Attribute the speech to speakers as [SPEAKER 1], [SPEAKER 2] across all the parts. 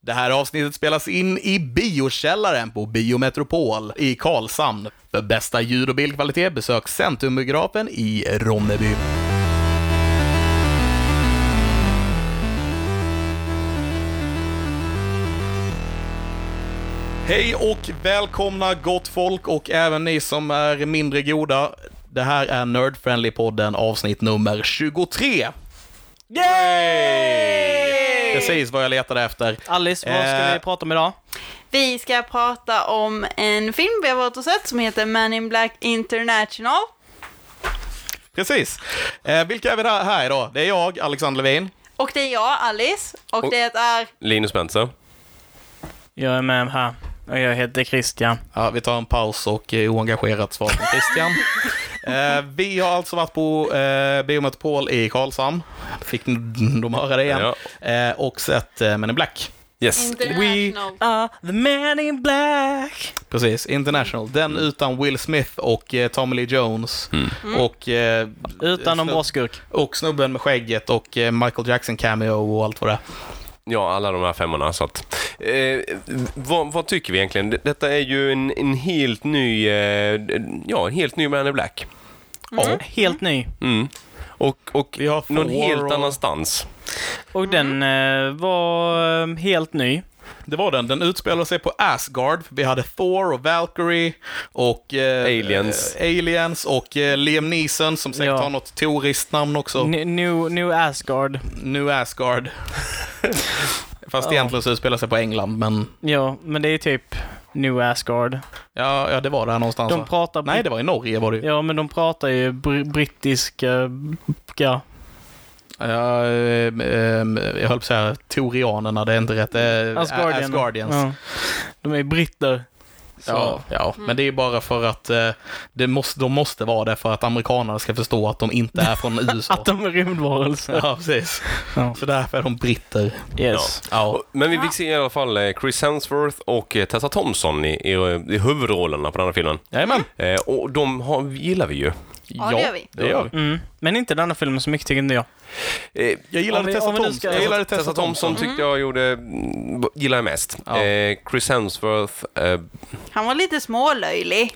[SPEAKER 1] Det här avsnittet spelas in i biokällaren på Biometropol i Karlshamn. För bästa ljud och bildkvalitet besök Centrumbiografen i Ronneby. Hej och välkomna gott folk och även ni som är mindre goda. Det här är Nerd Friendly podden avsnitt nummer 23.
[SPEAKER 2] Yay!
[SPEAKER 1] Precis vad jag letade efter.
[SPEAKER 2] Alice, vad ska
[SPEAKER 1] Eh,
[SPEAKER 2] vi prata om idag?
[SPEAKER 3] Vi ska prata om en film vi har varit och sett som heter Man in Black International.
[SPEAKER 1] Precis. Eh, vilka är vi där här idag? Det är jag, Alexander Levin.
[SPEAKER 3] Och det är jag, Alice, och
[SPEAKER 4] Och-
[SPEAKER 3] det är...
[SPEAKER 4] Linus Bentzen.
[SPEAKER 2] Jag är med här och jag heter Christian.
[SPEAKER 1] Ja, vi tar en paus och eh, oengagerat svar från Christian. eh, vi har alltså varit på eh, Biometropol i Karlshamn. Fick n- de höra det igen. Eh, och sett eh, Men in Black.
[SPEAKER 4] Yes.
[SPEAKER 3] International.
[SPEAKER 2] Ah, the man in black!
[SPEAKER 1] Precis, International. Den
[SPEAKER 4] Mm.
[SPEAKER 1] utan Will Smith och eh, Tommy Lee Jones. Och, eh,
[SPEAKER 2] Utan någon
[SPEAKER 1] snubb-
[SPEAKER 2] bra skurk.
[SPEAKER 1] och snubben med skägget och eh, Michael Jackson cameo och allt vad det är.
[SPEAKER 4] Ja, alla de här femmorna. Så att, eh, vad, vad tycker vi egentligen? D- Detta är ju en, en helt ny, eh, ja, en helt ny Man in Black.
[SPEAKER 1] Ja,
[SPEAKER 2] Helt ny.
[SPEAKER 4] Mm. Och, och
[SPEAKER 1] Vi har
[SPEAKER 4] någon
[SPEAKER 1] Thor
[SPEAKER 4] helt
[SPEAKER 1] och-
[SPEAKER 4] annanstans.
[SPEAKER 2] Och den eh, var eh, helt ny.
[SPEAKER 1] Det var den. Den utspelar sig på Asgard. Vi hade Thor och Valkyrie och... eh,
[SPEAKER 4] Aliens.
[SPEAKER 1] eh, aliens och eh, Liam Neeson som säkert
[SPEAKER 2] Ja.
[SPEAKER 1] har något toriskt namn också.
[SPEAKER 2] N- New, new Asgard.
[SPEAKER 1] New Asgard. Fast
[SPEAKER 2] Ja.
[SPEAKER 1] egentligen så utspelar sig på England, men...
[SPEAKER 2] Ja, men det är typ New Asgard.
[SPEAKER 1] Ja, ja det var där någonstans.
[SPEAKER 2] De
[SPEAKER 1] va?
[SPEAKER 2] pratar...
[SPEAKER 1] Alltså. Nej, det var i Norge var det ju.
[SPEAKER 2] Ja, men de pratar ju br- brittiska... Ja.
[SPEAKER 1] Ja, ehm, ehm, jag höll på att säga Torianerna, det är inte rätt. Det är
[SPEAKER 2] Asgardian.
[SPEAKER 1] Asgardians.
[SPEAKER 2] Ja. De är britter. Så.
[SPEAKER 1] Ja, ja. men det är bara för att eh, det måste, de måste vara det för att amerikanerna ska förstå att de inte är från USA.
[SPEAKER 2] Att de är rymdvarelser.
[SPEAKER 1] Ja, precis.
[SPEAKER 2] Ja.
[SPEAKER 1] Så därför är de britter.
[SPEAKER 2] Yes.
[SPEAKER 1] Ja.
[SPEAKER 4] Och- Men vi fick se i alla fall eh, Chris Hemsworth och eh, Tessa Thompson i, i, i huvudrollerna på den här filmen.
[SPEAKER 1] Jajamän.
[SPEAKER 4] Eh, och de har, gillar vi ju.
[SPEAKER 3] Ja, det gör vi.
[SPEAKER 1] Det gör vi.
[SPEAKER 2] Mm. Men inte den här filmen så mycket tycker inte jag.
[SPEAKER 4] Eh,
[SPEAKER 1] Jag
[SPEAKER 2] Om
[SPEAKER 1] gillade
[SPEAKER 2] vi-
[SPEAKER 1] Tessa
[SPEAKER 2] om vi nu
[SPEAKER 1] Thompson.
[SPEAKER 2] ska-
[SPEAKER 1] Jag gillade
[SPEAKER 4] Tessa Thompson tyckte jag gjorde, mm, gillar jag mest.
[SPEAKER 1] Ja.
[SPEAKER 4] Eh, Chris Hemsworth, eh,
[SPEAKER 3] Han var lite smålöjlig.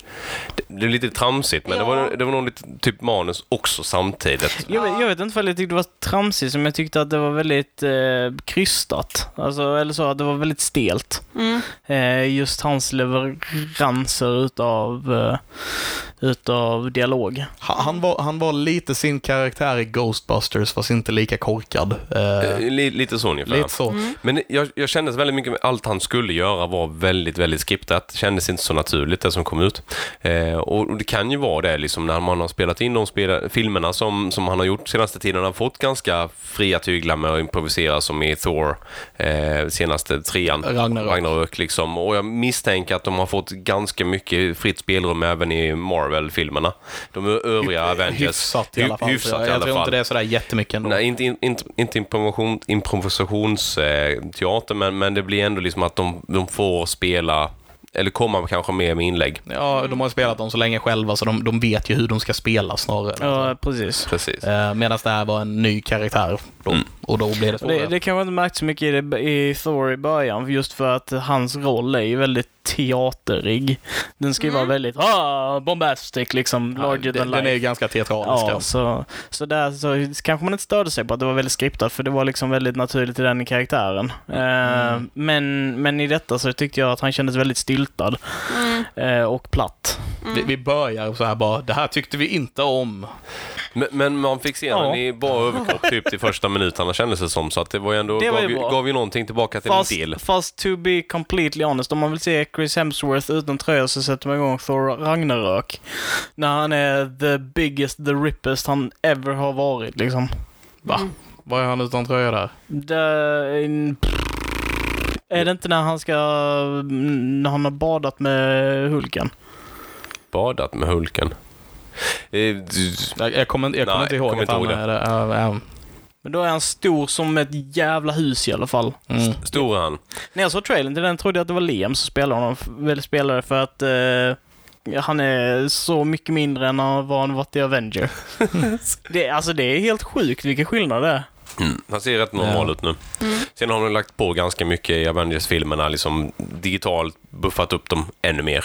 [SPEAKER 4] Det är lite tramsigt, men
[SPEAKER 3] Ja.
[SPEAKER 4] det, var, det var nog lite typ manus också samtidigt.
[SPEAKER 2] Jag, vet- jag vet inte vad jag tyckte det var tramsigt, som jag tyckte att det var väldigt eh, krystat. Alltså, eller så, att det var väldigt stelt.
[SPEAKER 3] Mm.
[SPEAKER 2] Eh, just hans leveranser utav, eh, utav dialog.
[SPEAKER 1] Han, han, var, han var lite sin karaktär i Ghostbusters, fast inte lika korkad. Eh,
[SPEAKER 4] Eh, li- Lite så ungefär.
[SPEAKER 1] lite så.
[SPEAKER 4] Men jag, jag kände väldigt mycket, allt han skulle göra var väldigt, väldigt skriptat. Kändes inte så naturligt det som kom ut. Eh, och och det kan ju vara det liksom när man har spelat in de spela, filmerna som, som han har gjort senaste tiden. Han har fått ganska fria tyglar med att improvisera som i Thor, eh, senaste trean.
[SPEAKER 1] Ragnarök.
[SPEAKER 4] Ragnarök liksom. Och jag misstänker att de har fått ganska mycket fritt spelrum även i Marvel-filmerna. De övriga Avengers.
[SPEAKER 1] Hyfsat i alla fall.
[SPEAKER 4] Hy- Hyfsat
[SPEAKER 1] Så jag,
[SPEAKER 4] i alla
[SPEAKER 1] jag tror
[SPEAKER 4] fall.
[SPEAKER 1] inte det är sådär jättemycket ändå.
[SPEAKER 4] Nej, inte, inte, inte improvisation, improvisationsteater, men, men det blir ändå liksom att de, de får spela, eller komma kanske mer med inlägg.
[SPEAKER 1] Ja, de har spelat dem så länge själva, så de, de vet ju hur de ska spela snarare.
[SPEAKER 2] Ja, precis.
[SPEAKER 4] Precis.
[SPEAKER 1] Eh, Medan det här var en ny karaktär. Då,
[SPEAKER 4] Mm.
[SPEAKER 1] Och då blir det svårare.
[SPEAKER 2] Det, det kanske inte märkt så mycket i, det, i Thor i början, för just för att hans roll är ju väldigt teaterig. Den ska ju vara väldigt ah, bombastic, liksom,
[SPEAKER 1] Mm. Ja,
[SPEAKER 2] larger
[SPEAKER 1] den,
[SPEAKER 2] than
[SPEAKER 1] den är
[SPEAKER 2] life.
[SPEAKER 1] ju ganska teatralisk. alltså.
[SPEAKER 2] Ja, så, så där så kanske man inte störde sig på att det var väldigt skriptat för det var liksom väldigt naturligt i den karaktären. Eh,
[SPEAKER 4] Mm.
[SPEAKER 2] men, men i detta så tyckte jag att han kändes väldigt styltad eh, och platt.
[SPEAKER 1] Vi, vi börjar så här bara, det här tyckte vi inte om.
[SPEAKER 4] Men, men man fick se honom
[SPEAKER 2] Ja.
[SPEAKER 4] i bara överkropp typ de första minuterna kändes det som, så att det var ju ändå,
[SPEAKER 2] Det var
[SPEAKER 4] gav,
[SPEAKER 2] ju
[SPEAKER 4] ju,
[SPEAKER 2] bra.
[SPEAKER 4] gav ju någonting tillbaka till
[SPEAKER 2] Fast,
[SPEAKER 4] en del.
[SPEAKER 2] fast to be completely honest, om man vill se Chris Hemsworth utan tröja så sätter man igång Thor Ragnarök. När han är the biggest, the rippest han ever har varit liksom.
[SPEAKER 1] Va? Var är han utan tröja där?
[SPEAKER 2] Det, är det inte när han ska, när han har badat med Hulken?
[SPEAKER 4] Badat med Hulken. Eh, d-
[SPEAKER 1] Jag, jag kommer, inte- jag kommer
[SPEAKER 4] Nej,
[SPEAKER 1] inte ihåg
[SPEAKER 4] kommer
[SPEAKER 1] att
[SPEAKER 4] inte
[SPEAKER 1] han
[SPEAKER 4] ihåg det.
[SPEAKER 1] är det. Ja, ja.
[SPEAKER 2] Men då är han stor som ett jävla hus i alla fall.
[SPEAKER 1] Mm.
[SPEAKER 4] Stor är han.
[SPEAKER 2] När jag såg trailern till den trodde jag att det var Liam som spelade honom, väl spelare för att eh, han är så mycket mindre än han var han varit i Avenger. det, alltså det är helt sjukt vilken skillnad det är.
[SPEAKER 4] Han ser rätt normal ut nu. Sen har de lagt på ganska mycket i Avengers-filmerna, liksom digitalt buffat upp dem ännu mer.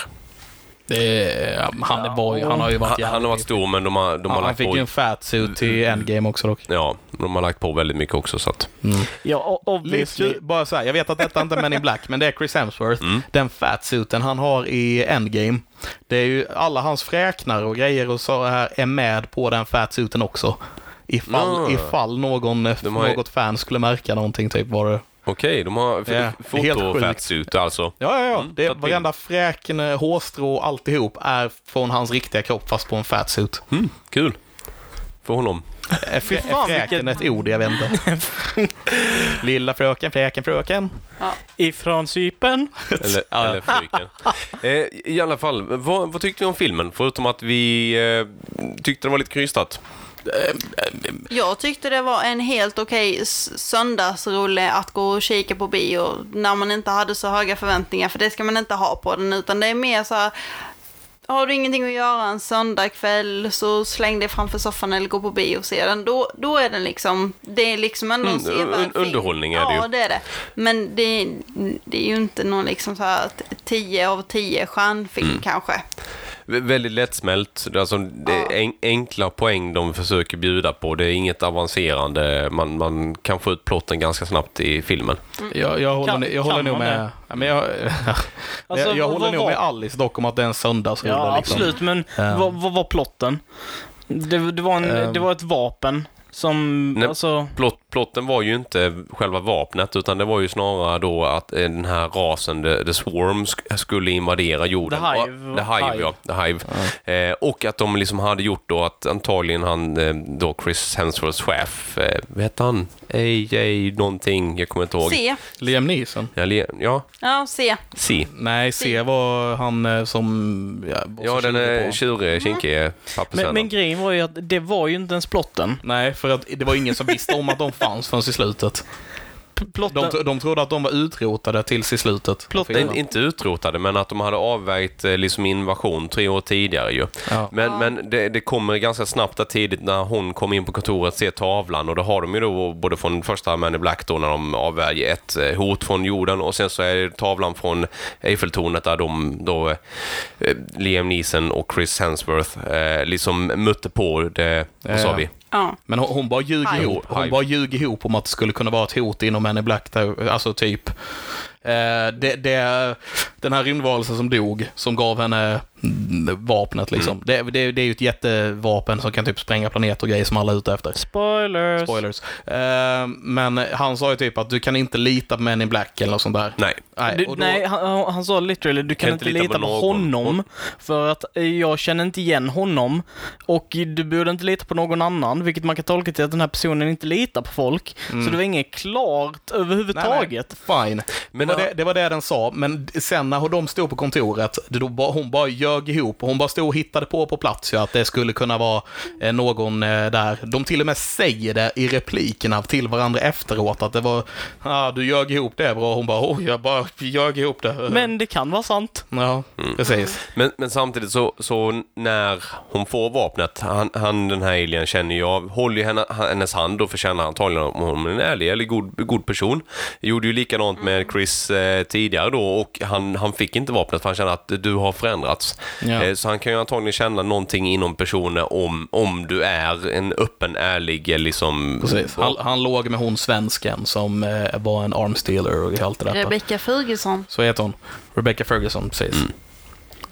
[SPEAKER 1] Det är, ja, han, är boy, han har ju varit
[SPEAKER 4] Han, han har varit stor, men de har, de har
[SPEAKER 1] Han, han
[SPEAKER 4] lagt
[SPEAKER 1] fick
[SPEAKER 4] på... Mm.
[SPEAKER 1] ju en fat suit till Endgame också dock. Mm.
[SPEAKER 4] Ja, de har lagt på väldigt mycket också. Så att,
[SPEAKER 2] Ja, o- obviously.
[SPEAKER 1] Lite, bara så här, jag vet att detta inte är Men in Black, men det är Chris Hemsworth.
[SPEAKER 4] Mm.
[SPEAKER 1] Den fatsuiten han har i Endgame. Det är ju alla hans fräknar och grejer och så här är med på den fatsuiten också. Ifall,
[SPEAKER 4] Ah.
[SPEAKER 1] ifall någon,
[SPEAKER 4] De har ju-
[SPEAKER 1] något fan skulle märka någonting, typ var det.
[SPEAKER 4] Okej, de har
[SPEAKER 1] Ja, det är
[SPEAKER 4] yeah,
[SPEAKER 1] helt
[SPEAKER 4] foto
[SPEAKER 1] sjukt.
[SPEAKER 4] fats ut alltså.
[SPEAKER 1] Ja, ja, ja.
[SPEAKER 4] Mm,
[SPEAKER 1] det är,
[SPEAKER 4] tagit bild.
[SPEAKER 1] varenda fräken, hårstrå, alltihop är från hans riktiga kropp fast på en fatsuit.
[SPEAKER 4] Mm, kul. För honom.
[SPEAKER 1] Är, frä, är
[SPEAKER 2] fan,
[SPEAKER 1] fräken ett ord? Jag vet inte. Lilla fröken, fräken, fröken.
[SPEAKER 2] Ifrån Cypern.
[SPEAKER 4] Eller, eller fryken. Eh, I alla fall, vad, vad tyckte ni om filmen? Förutom att vi eh, tyckte det var lite krystat.
[SPEAKER 3] Jag tyckte det var en helt okej s- söndagsrulle att gå och kika på bio när man inte hade så höga förväntningar, för det ska man inte ha på den, utan det är mer så här, har du ingenting att göra en söndagkväll så släng dig framför soffan eller gå på bio och se den. Då, då är den liksom, det är liksom ändå en
[SPEAKER 4] Mm,
[SPEAKER 3] sevärd
[SPEAKER 4] un-
[SPEAKER 3] film.
[SPEAKER 4] underhållning är det ju.
[SPEAKER 3] Ja, det är det. Men det, det är ju inte någon liksom så här t- 10 av 10 stjärnfilm
[SPEAKER 4] Mm.
[SPEAKER 3] kanske.
[SPEAKER 4] Vä- Väldigt lättsmält. Det är Alltså, det är en, enkla poäng de försöker bjuda på. Det är inget avancerande. Man, man kan få ut plotten ganska snabbt i filmen.
[SPEAKER 1] Jag, jag håller,
[SPEAKER 2] Mm. Kan-
[SPEAKER 1] jag håller
[SPEAKER 2] kan
[SPEAKER 1] nog
[SPEAKER 2] man
[SPEAKER 1] med,
[SPEAKER 2] det?
[SPEAKER 1] ja, men jag,
[SPEAKER 2] Alltså,
[SPEAKER 1] jag, jag
[SPEAKER 2] vad-
[SPEAKER 1] håller
[SPEAKER 2] vad
[SPEAKER 1] nog
[SPEAKER 2] var-
[SPEAKER 1] med Alice dock om att det är en söndagsrulle.
[SPEAKER 2] Ja,
[SPEAKER 1] liksom.
[SPEAKER 2] absolut. Men
[SPEAKER 1] Ja.
[SPEAKER 2] vad, vad var plotten? Det, det, var en,
[SPEAKER 1] Ehm.
[SPEAKER 2] det var ett vapen som...
[SPEAKER 4] Nej.
[SPEAKER 2] Alltså,
[SPEAKER 4] Plot, plotten var ju inte själva vapnet utan det var ju snarare då att eh, den här rasen, the, the swarm, sk- skulle invadera jorden.
[SPEAKER 2] The Hive.
[SPEAKER 4] Ja, the hive,
[SPEAKER 2] Hive.
[SPEAKER 4] Ja, the hive. Eh, och att de liksom hade gjort då att antagligen han, eh, då Chris Hemsworths chef, eh, vad hette han? AJ någonting, jag kommer inte ihåg.
[SPEAKER 3] Se.
[SPEAKER 1] Liam Neeson?
[SPEAKER 4] Ja, le- ja,
[SPEAKER 3] Ja, se.
[SPEAKER 4] C.
[SPEAKER 1] Nej, C var han eh, som... Ja, var
[SPEAKER 4] Ja,
[SPEAKER 1] så
[SPEAKER 4] den eh,
[SPEAKER 1] tjurig
[SPEAKER 4] är
[SPEAKER 1] på.
[SPEAKER 4] tjurig, kinkig
[SPEAKER 2] men,
[SPEAKER 4] pappersen.
[SPEAKER 2] men grejen var ju att det var ju inte ens plotten.
[SPEAKER 1] Nej, för att det var ingen som visste om att de fanns förrän i slutet.
[SPEAKER 2] P- Plotten...
[SPEAKER 1] De, tro- de trodde att de var utrotade tills i slutet.
[SPEAKER 2] Plot-
[SPEAKER 1] Filmen.
[SPEAKER 4] Nej, inte utrotade, men att de hade avvägt eh, liksom invasion tre år tidigare ju.
[SPEAKER 1] Ja.
[SPEAKER 4] Men, men det, det kommer ganska snabbt där tidigt när hon kommer in på kontoret och ser tavlan och då har de ju då både från första Man in Black då när de avvärjer ett eh, hot från jorden och sen så är det tavlan från Eiffeltornet där de då eh, Liam Neeson och Chris Hemsworth eh, liksom mötte på det, vad sa
[SPEAKER 1] Ja.
[SPEAKER 4] vi?
[SPEAKER 3] Ja.
[SPEAKER 1] Men hon, hon bara ljög
[SPEAKER 3] Hive.
[SPEAKER 1] ihop. Hon
[SPEAKER 4] Hive.
[SPEAKER 1] bara ljög ihop om att det skulle kunna vara ett hot inom Men in Black, där- alltså typ. Eh, det, det, den här rymdvarelsen som dog, som gav henne mm, vapnet liksom.
[SPEAKER 2] Mm.
[SPEAKER 1] Det, det, det är ju ett jättevapen som kan typ spränga planeter och grejer som alla är ute efter.
[SPEAKER 2] Spoilers.
[SPEAKER 1] Spoilers. Eh, men han sa ju typ att du kan inte lita på Men in Black eller något sånt där.
[SPEAKER 4] Nej.
[SPEAKER 1] Nej,
[SPEAKER 2] Du,
[SPEAKER 1] och då-
[SPEAKER 2] Nej, han, han- han sa literally du kan, inte lita, på,
[SPEAKER 4] någon.
[SPEAKER 2] honom för att eh, jag känner inte igen honom och du borde inte lita på någon annan vilket man kan tolka till att den här personen inte litar på folk. Så det var inget klart
[SPEAKER 1] Nej,
[SPEAKER 2] överhuvudtaget.
[SPEAKER 1] Nej, fine.
[SPEAKER 4] Men
[SPEAKER 1] det, var
[SPEAKER 4] han-
[SPEAKER 1] det, det var det den sa, men sen när de stod på kontoret, det då bara, hon bara ljög ihop. Hon bara stod och hittade på på plats ju att det skulle kunna vara eh, någon eh, där. De till och med säger det i replikerna till varandra efteråt, att det var, ah, du ljög ihop det bra. Hon bara, oj, jag bara ljög ihop det.
[SPEAKER 2] Men det kan vara sant.
[SPEAKER 1] Ja, precis.
[SPEAKER 4] Men, men samtidigt så, så när hon får vapnet, han, han den här alien känner ju av, håller ju henne, hennes hand och förtjänar antagligen om hon är en ärlig eller god, god person. Gjorde ju likadant
[SPEAKER 1] Mm.
[SPEAKER 4] med Chris eh, tidigare då och han, han fick inte vapnet för han känner att du har förändrats.
[SPEAKER 1] Ja.
[SPEAKER 4] Eh, så han kan ju antagligen känna någonting inom personer om, om du är en öppen, ärlig eh, liksom...
[SPEAKER 1] precis. Han, han låg med hon svensken som eh, var en armstealer och allt det där.
[SPEAKER 3] Rebecka Fugesson.
[SPEAKER 1] Så heter hon. Rebecca Ferguson, precis.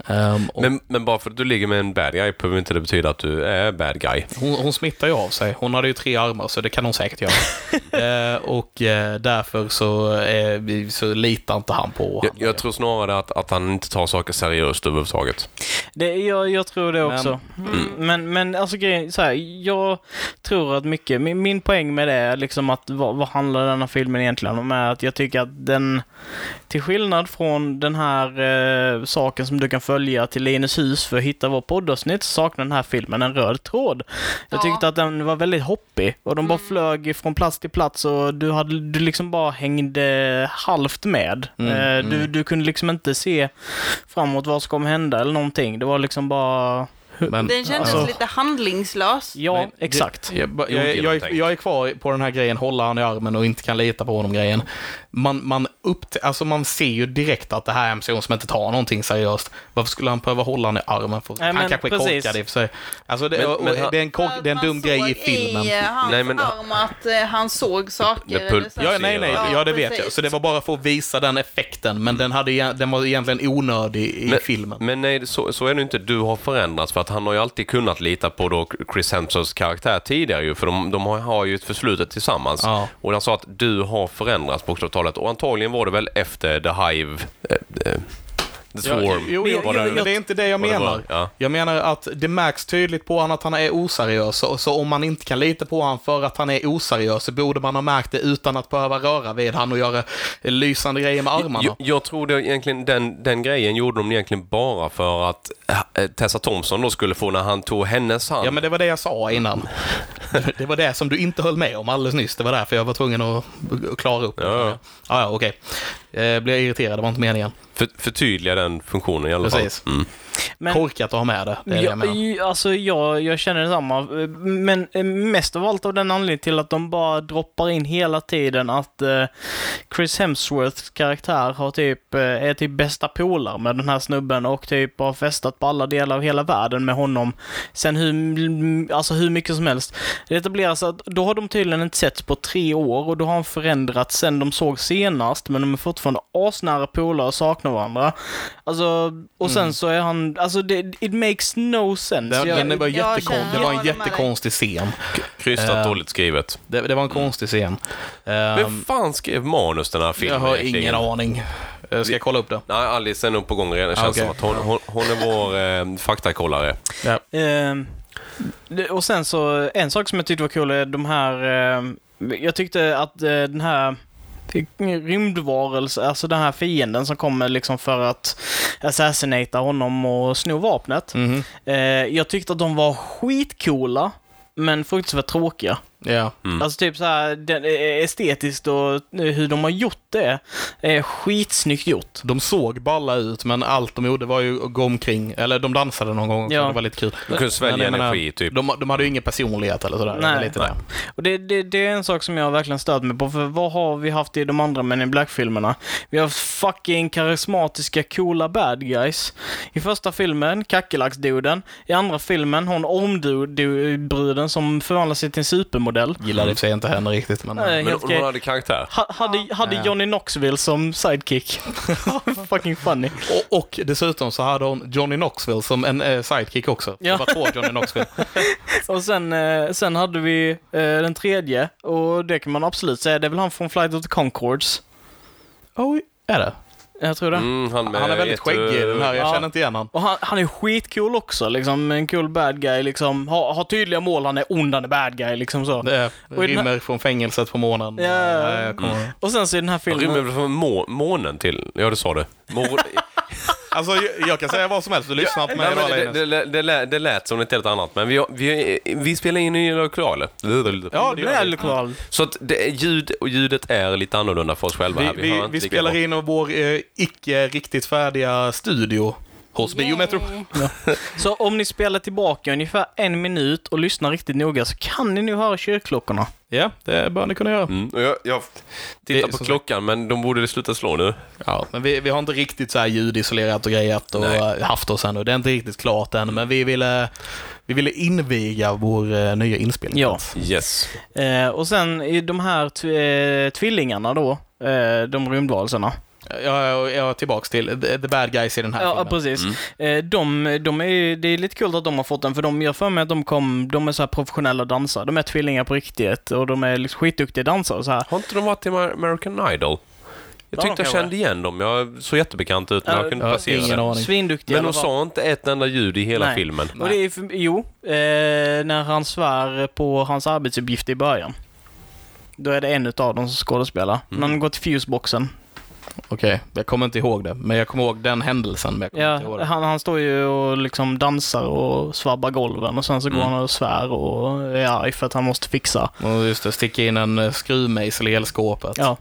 [SPEAKER 1] Ehm, och
[SPEAKER 4] men, men bara för att du ligger med en bad guy behöver inte det betyda att du är bad guy.
[SPEAKER 1] Hon, hon smittar ju av sig. Hon hade ju tre armar, så det kan hon säkert göra. eh, och eh, därför så, eh, vi- så litar inte han på
[SPEAKER 4] Jag,
[SPEAKER 1] henne.
[SPEAKER 4] jag tror snarare att, att han inte tar saker seriöst överhuvudtaget.
[SPEAKER 2] Det, jag, jag tror det
[SPEAKER 1] Men-
[SPEAKER 2] också. Men, men alltså grejen, så här, jag tror att mycket, min, min poäng med det är liksom att vad, vad handlar den här filmen egentligen om? Är att jag tycker att den, till skillnad från den här eh, saken som du kan följa till Linus hus för att hitta vår poddavsnitt, så saknar den här filmen en röd tråd. Jag
[SPEAKER 3] Ja.
[SPEAKER 2] tyckte att den var väldigt hoppig och de bara flög från plats till plats och du, hade, du liksom bara hängde halvt med.
[SPEAKER 1] Mm,
[SPEAKER 2] eh, du, du kunde liksom inte se framåt vad som kommer hända eller någonting. Det var liksom bara
[SPEAKER 1] Men,
[SPEAKER 3] Den kändes
[SPEAKER 2] Alltså-
[SPEAKER 3] lite handlingslös.
[SPEAKER 2] Ja,
[SPEAKER 4] Men det-
[SPEAKER 2] exakt.
[SPEAKER 1] Jag, ba- jag, jag, är- jag är kvar på den här grejen, hålla han i armen och inte kan lita på honom-grejen. Man, man, uppt- alltså man ser ju direkt att det här är en person som inte tar någonting seriöst. Varför skulle han behöva hålla han i armen? För?
[SPEAKER 2] Nej, men
[SPEAKER 1] han kanske är
[SPEAKER 2] precis.
[SPEAKER 1] korkad i och för sig. Alltså det,
[SPEAKER 4] Men-
[SPEAKER 1] och- och
[SPEAKER 4] men han-
[SPEAKER 1] det är en, kork, det är en
[SPEAKER 3] Man
[SPEAKER 1] dum grej i
[SPEAKER 3] såg
[SPEAKER 1] filmen.
[SPEAKER 3] I eh, hans
[SPEAKER 4] Nej, men-
[SPEAKER 3] arm att eh, han såg saker.
[SPEAKER 4] Det pul-
[SPEAKER 3] eller så.
[SPEAKER 1] Ja, nej, nej,
[SPEAKER 4] Ja,
[SPEAKER 1] ja det vet
[SPEAKER 3] precis.
[SPEAKER 1] jag. Så det var bara för att visa den effekten, men den, hade, egen- den var egentligen onödig i filmen.
[SPEAKER 4] Men nej, så, så är det inte. Du har förändrats för att han har ju alltid kunnat lita på då Chris Hemsworths karaktär tidigare ju för de, de har, har ju ett förflutet tillsammans.
[SPEAKER 1] Ja.
[SPEAKER 4] Och han sa att du har förändrats bokstavligt talat och antagligen var det väl efter The Hive, eh, eh, The Swarm.
[SPEAKER 1] Ja, jo, jo,
[SPEAKER 4] var det-
[SPEAKER 1] jo, men det är inte det jag
[SPEAKER 4] var det
[SPEAKER 1] menar.
[SPEAKER 4] bra? Ja.
[SPEAKER 1] Jag menar att det märks tydligt på honom att han är oseriös. Så, så om man inte kan lita på honom för att han är oseriös så borde man ha märkt det utan att behöva röra vid han och göra lysande grejer med armarna.
[SPEAKER 4] Jag, jag tror det egentligen den, den grejen gjorde de egentligen bara för att eh, Tessa Thompson då skulle få när han tog hennes hand.
[SPEAKER 1] Ja, men det var det jag sa innan. Det var det som du inte höll med om alldeles nyss. Det var därför jag var tvungen att klara upp det.
[SPEAKER 4] Ja, ja.
[SPEAKER 1] ja, ja okej. Eh, Blev jag irriterad, det var inte meningen.
[SPEAKER 4] för, förtydliga den funktionen i alla fall.
[SPEAKER 1] Precis.
[SPEAKER 4] Mm.
[SPEAKER 2] Men-
[SPEAKER 1] Korkat att ha med det. det, är det jag
[SPEAKER 2] Ja,
[SPEAKER 1] menar.
[SPEAKER 2] i- alltså jag, jag känner detsamma. Eh, Men eh, mest av allt av den anledningen till att de bara droppar in hela tiden att eh, Chris Hemsworths karaktär har typ, eh, är typ bästa polare med den här snubben och typ har festat på alla delar av hela världen med honom. Sen hur, m- alltså hur mycket som helst. Det etableras att då har de tydligen inte setts på tre år och då har han förändrats sen de såg senast men de är fortfarande asnära polare och saknar varandra. Alltså, och sen så är han, alltså det, it makes no sense.
[SPEAKER 1] Mm. Det,
[SPEAKER 2] Jag-
[SPEAKER 1] den var
[SPEAKER 3] jag
[SPEAKER 1] jättekon-
[SPEAKER 3] känner-
[SPEAKER 1] det var
[SPEAKER 3] jag
[SPEAKER 1] en
[SPEAKER 3] håller med dig.
[SPEAKER 1] jättekonstig scen.
[SPEAKER 4] Krystat,
[SPEAKER 1] Eh.
[SPEAKER 4] dåligt skrivet.
[SPEAKER 1] Det, det var
[SPEAKER 4] Mm.
[SPEAKER 1] en konstig scen. Ehm,
[SPEAKER 4] Vem fan skrev manus den här
[SPEAKER 1] jag
[SPEAKER 4] filmen
[SPEAKER 1] har
[SPEAKER 4] egentligen?
[SPEAKER 1] ingen aning. Eh, Ska jag kolla upp det?
[SPEAKER 4] Nej, Alice är nog på gång redan. Det känns
[SPEAKER 1] Ah,
[SPEAKER 4] som
[SPEAKER 1] okej.
[SPEAKER 4] att hon, hon, hon är vår eh, faktakollare.
[SPEAKER 2] Ehm, det- och sen så, en sak som jag tyckte var cool är de här, ehm, jag tyckte att eh, den här rymdvarelsen, alltså den här fienden som kommer liksom för att assassinata honom och sno vapnet.
[SPEAKER 1] Mhm.
[SPEAKER 2] Eh, jag tyckte att de var skitcoola, men fruktansvärt tråkiga.
[SPEAKER 1] Ja.
[SPEAKER 4] Mm.
[SPEAKER 2] Alltså typ så här, den, eh, estetiskt och eh, hur de har gjort det är skitsnyggt gjort.
[SPEAKER 1] De såg balla ut, men allt de gjorde var ju att gå omkring. Eller de dansade någon gång också,
[SPEAKER 2] Ja.
[SPEAKER 1] det var lite kul.
[SPEAKER 4] De kunde svälja
[SPEAKER 1] Men jag menar,
[SPEAKER 4] energi, typ.
[SPEAKER 1] De, de hade ju ingen personlighet eller sådär.
[SPEAKER 2] Nej.
[SPEAKER 1] Nej. Lite
[SPEAKER 4] Nej.
[SPEAKER 1] där.
[SPEAKER 2] Och det, det, det är en sak som jag verkligen stört mig på, för vad har vi haft i de andra Men in Black-filmerna? Vi har haft fucking karismatiska, coola bad guys. I första filmen, kackerlacksduden. I andra filmen, hon ormbruden som förvandlar sig till en supermodell.
[SPEAKER 1] Gillade i och för sig
[SPEAKER 4] Mm.
[SPEAKER 1] inte henne riktigt, Mm. men...
[SPEAKER 2] Nej.
[SPEAKER 4] Men
[SPEAKER 2] helt
[SPEAKER 4] hon
[SPEAKER 2] okej.
[SPEAKER 4] hade karaktär.
[SPEAKER 2] Ha, hade hade
[SPEAKER 1] Ja.
[SPEAKER 2] Johnny Knoxville som sidekick. fucking funny.
[SPEAKER 1] Och, och dessutom så hade hon Johnny Knoxville som en eh, sidekick också. Det
[SPEAKER 2] Ja.
[SPEAKER 1] var två Johnny Knoxville.
[SPEAKER 2] Och sen, eh, sen hade vi eh, den tredje, och det kan man absolut säga, det är väl han från Flight of the Conchords.
[SPEAKER 1] Oj, är det?
[SPEAKER 2] Jag tror det.
[SPEAKER 4] Mm, han, med
[SPEAKER 1] Han är väldigt
[SPEAKER 4] ett, eh,
[SPEAKER 1] skäggig den här, jag
[SPEAKER 2] ja.
[SPEAKER 1] känner inte igen han.
[SPEAKER 2] Och han, han är skitcool också, liksom en cool bad guy, liksom har, har tydliga mål, han är ond, han är bad guy, liksom så.
[SPEAKER 1] Det är
[SPEAKER 2] Och i den här-
[SPEAKER 1] rymmer från fängelset på månen.
[SPEAKER 2] Ja, ja, ja.
[SPEAKER 1] jag kommer
[SPEAKER 4] Mm.
[SPEAKER 1] ihåg.
[SPEAKER 2] Och sen så i den här
[SPEAKER 4] Han
[SPEAKER 2] filmen...
[SPEAKER 4] rymmer väl från må, månen till... Ja, du sa det. Mor,
[SPEAKER 1] Alltså, jag, jag kan säga vad som helst. Du lyssnar på mig
[SPEAKER 4] Nej,
[SPEAKER 1] idag,
[SPEAKER 4] men det,
[SPEAKER 1] Linus.
[SPEAKER 4] det, det, det, lät, det lät som ett helt annat, men vi, har- vi, vi spelar in i lokaler.
[SPEAKER 1] Ja, det
[SPEAKER 2] det
[SPEAKER 1] gör
[SPEAKER 2] är
[SPEAKER 1] vi.
[SPEAKER 2] lokal.
[SPEAKER 4] Så att det, är ljud, och ljudet är lite annorlunda för oss själva
[SPEAKER 1] Vi,
[SPEAKER 4] här.
[SPEAKER 1] vi,
[SPEAKER 4] hör inte
[SPEAKER 1] vi
[SPEAKER 4] lika
[SPEAKER 1] spelar
[SPEAKER 4] bra.
[SPEAKER 1] in vår eh, icke riktigt färdiga studio hos Biometro.
[SPEAKER 3] Yay.
[SPEAKER 2] Så om ni spelar tillbaka ungefär en minut och lyssnar riktigt noga så kan ni nu höra kyrkklockorna.
[SPEAKER 1] Ja, det bör ni kunna göra.
[SPEAKER 4] Mm. och Jag, jag tittar
[SPEAKER 1] Det-
[SPEAKER 4] på
[SPEAKER 1] som-
[SPEAKER 4] klockan, men de borde sluta slå nu.
[SPEAKER 1] Ja, men vi, vi har inte riktigt så här ljudisolerat och grejat och
[SPEAKER 4] Nej.
[SPEAKER 1] haft oss ännu. Det är inte riktigt klart än, men vi ville, vi ville inviga vår eh, nya inspelning.
[SPEAKER 2] Ja.
[SPEAKER 4] Yes.
[SPEAKER 2] Eh, och sen i de här tv- eh, tvillingarna då, eh, de rymdvarelserna.
[SPEAKER 1] Jag, jag är tillbaks till the, the bad guys i den här
[SPEAKER 2] Ja,
[SPEAKER 1] filmen.
[SPEAKER 2] precis. Eh, De, de är, ju- det är lite kul att de har fått den, för de, jag har för mig att de kom, de är så här professionella dansare. De är tvillingar på riktigt och de är liksom skitduktiga dansare och så här.
[SPEAKER 4] Har inte de varit i Amer- American Idol? Jag
[SPEAKER 2] Ja,
[SPEAKER 4] tyckte
[SPEAKER 2] de
[SPEAKER 4] jag
[SPEAKER 2] kan
[SPEAKER 4] kände igen dem. Jag såg jättebekant ut, men
[SPEAKER 2] Ja,
[SPEAKER 4] jag kunde
[SPEAKER 1] ja,
[SPEAKER 4] placera
[SPEAKER 1] ingen
[SPEAKER 4] det.
[SPEAKER 1] aning.
[SPEAKER 2] Svinduktiga i
[SPEAKER 4] Men
[SPEAKER 2] alla
[SPEAKER 4] de
[SPEAKER 2] fall.
[SPEAKER 4] sa inte ett enda ljud i hela
[SPEAKER 2] Nej.
[SPEAKER 4] filmen.
[SPEAKER 2] Och det är, för- jo, eh, när han svär på hans arbetsuppgift i början. Då är det en utav dem som skådespelar. Mm. Han går till fuseboxen.
[SPEAKER 1] Okej, jag kommer inte ihåg det, men jag kommer ihåg den händelsen. Men jag kommer inte ihåg
[SPEAKER 2] Ja,
[SPEAKER 1] det.
[SPEAKER 2] han, han står ju och liksom dansar och svabbar golven och sen så går han och svär och är arg för att han måste fixa.
[SPEAKER 1] Och just det, sticka in en eh, skruvmejsel i elskåpet.
[SPEAKER 2] Ja.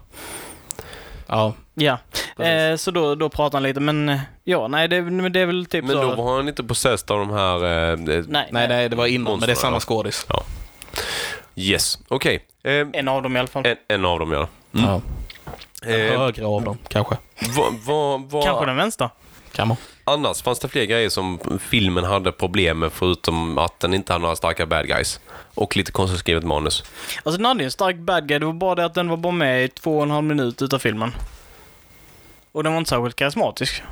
[SPEAKER 1] ja.
[SPEAKER 2] Ja,
[SPEAKER 4] precis.
[SPEAKER 2] Eh, så då, då pratar han lite, men eh, ja, nej, det, men det är väl typ
[SPEAKER 4] Men
[SPEAKER 2] så.
[SPEAKER 4] då var han inte possessed av de här... Eh, eh,
[SPEAKER 2] nej,
[SPEAKER 1] Nej, nej, det var innan, men det är
[SPEAKER 4] Monster,
[SPEAKER 1] samma
[SPEAKER 4] ja.
[SPEAKER 1] skådis.
[SPEAKER 4] Yes, okej. Eh,
[SPEAKER 2] En av dem i alla fall.
[SPEAKER 4] en, en av dem, ja. Mm.
[SPEAKER 1] Ja.
[SPEAKER 4] Eh,
[SPEAKER 1] Högre av dem, kanske.
[SPEAKER 4] vad, vad, vad,
[SPEAKER 2] Kanske den vänstra.
[SPEAKER 1] Kan man.
[SPEAKER 4] Annars, fanns det fler grejer som filmen hade problem med förutom att den inte hade några starka bad guys? Och lite konstigt skrivet manus.
[SPEAKER 2] Alltså den hade ju en stark bad guy, det var bara det att den var bara med i två och en halv minut utav filmen. Och den var inte särskilt karismatisk.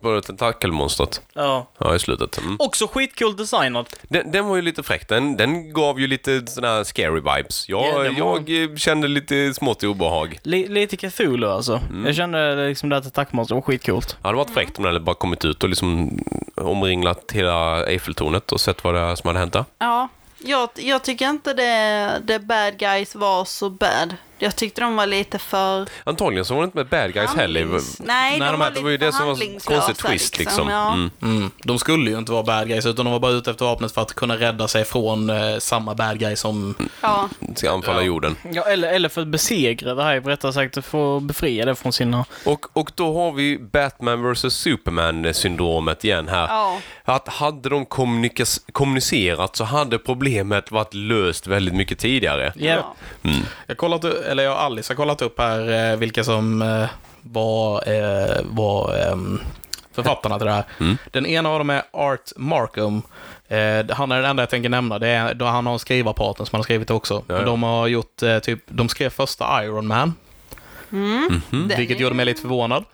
[SPEAKER 4] Var det tentakelmonstret?
[SPEAKER 2] Ja.
[SPEAKER 4] Ja, i slutet. Mm.
[SPEAKER 2] Också skitkul designat.
[SPEAKER 4] Den, den var ju lite fräck. Den, den gav ju lite sådana här scary vibes. Jag,
[SPEAKER 2] Ja, den var-
[SPEAKER 4] jag eh, kände lite smått obehag.
[SPEAKER 2] Li- lite Cthulhu alltså. Jag kände liksom det att attackmonstret var skitcoolt.
[SPEAKER 4] Det hade
[SPEAKER 3] Mm.
[SPEAKER 4] varit fräckt om den hade bara kommit ut och liksom omringlat hela Eiffeltornet och sett vad det är som hade hänt där.
[SPEAKER 3] Ja, jag, jag tycker inte det, det bad guys var så bad. Jag tyckte de var lite för...
[SPEAKER 4] Antagligen så var det inte med bad guys heller.
[SPEAKER 3] handlings- Nej, de
[SPEAKER 4] de
[SPEAKER 3] var
[SPEAKER 4] här- det var ju
[SPEAKER 3] lite
[SPEAKER 4] det som var
[SPEAKER 3] handlingslösa,
[SPEAKER 4] konstigt twist
[SPEAKER 3] liksom,
[SPEAKER 4] liksom.
[SPEAKER 3] ja.
[SPEAKER 4] Mm.
[SPEAKER 1] Mm. De skulle ju inte vara bad guys, utan de var bara ute efter vapnet för att kunna rädda sig från eh, samma bad guy som...
[SPEAKER 3] Ja,
[SPEAKER 4] Ska anfalla jorden.
[SPEAKER 2] Ja, eller, eller för att besegra det här, rättare sagt för att befria det från sina...
[SPEAKER 4] Och, och då har vi Batman vs Superman-syndromet igen här.
[SPEAKER 3] Ja.
[SPEAKER 4] Att hade de kommunikas- kommunicerat så hade problemet varit löst väldigt mycket tidigare. Mm.
[SPEAKER 2] Ja.
[SPEAKER 1] Jag har kollat, u- eller jag och Alice har kollat upp här eh, vilka som eh, var, eh, var ehm, författarna till det här.
[SPEAKER 4] Mm.
[SPEAKER 1] Den ena av dem är Art Markham. Eh, han är den enda jag tänker nämna. Det är, då han har en skrivarpartner som han har skrivit också.
[SPEAKER 4] Ja, ja.
[SPEAKER 1] De har gjort, eh, typ, de skrev första Iron Man,
[SPEAKER 4] Mhm.
[SPEAKER 3] Den
[SPEAKER 1] vilket
[SPEAKER 3] är- Mm.
[SPEAKER 1] gjorde mig lite förvånad.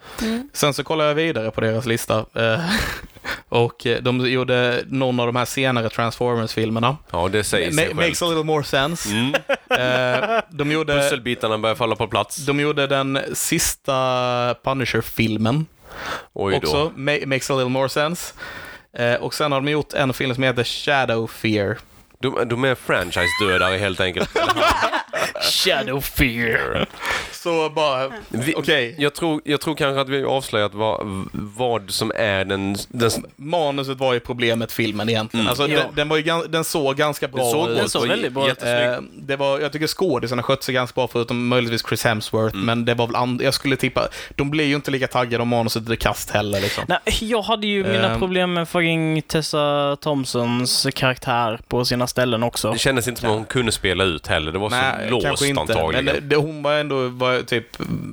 [SPEAKER 1] Sen så kollade jag vidare på deras lista. eh, Och eh, de gjorde någon av de här senare Transformers-filmerna.
[SPEAKER 4] Ja, det säger sig Mm.
[SPEAKER 1] Ma-
[SPEAKER 4] självt.
[SPEAKER 1] makes a little more sense. Eh, de gjorde...
[SPEAKER 4] Pusselbitarna börjar falla på plats.
[SPEAKER 1] De gjorde den sista Punisher-filmen
[SPEAKER 4] Oj då.
[SPEAKER 1] också, Ma- Makes a little more sense. Eh, och sen har de gjort en film som heter Shadow Fear.
[SPEAKER 4] De, de är franchise-dödare helt enkelt.
[SPEAKER 2] Shadow fear.
[SPEAKER 1] Så bara,
[SPEAKER 4] Mm. Vi-
[SPEAKER 1] okej,
[SPEAKER 4] Jag, tror, jag tror kanske att vi har avslöjat vad, vad som är den... den
[SPEAKER 1] manuset var ju problemet filmen egentligen. Alltså,
[SPEAKER 2] Ja.
[SPEAKER 1] den, den, var ju, gan- den såg ganska bra
[SPEAKER 4] Mm. den såg
[SPEAKER 1] ut.
[SPEAKER 4] bra ut.
[SPEAKER 2] såg
[SPEAKER 4] Det var
[SPEAKER 2] väldigt bra ut.
[SPEAKER 4] jättesnygg.
[SPEAKER 1] Eh, det var, jag tycker skådisarna skötte sig ganska bra, förutom möjligtvis Chris Hemsworth,
[SPEAKER 4] Mm.
[SPEAKER 1] men det var väl and- jag skulle tippa, de blir ju inte lika taggade om manuset är kast heller. Liksom.
[SPEAKER 2] Nej, jag hade ju mina
[SPEAKER 1] Ehm.
[SPEAKER 2] problem med fucking Tessa Thompsons karaktär på sina ställen också.
[SPEAKER 4] Det kändes inte som att hon kunde spela ut heller. Det var så låst antagligen.
[SPEAKER 1] Men det, hon var ändå var, typ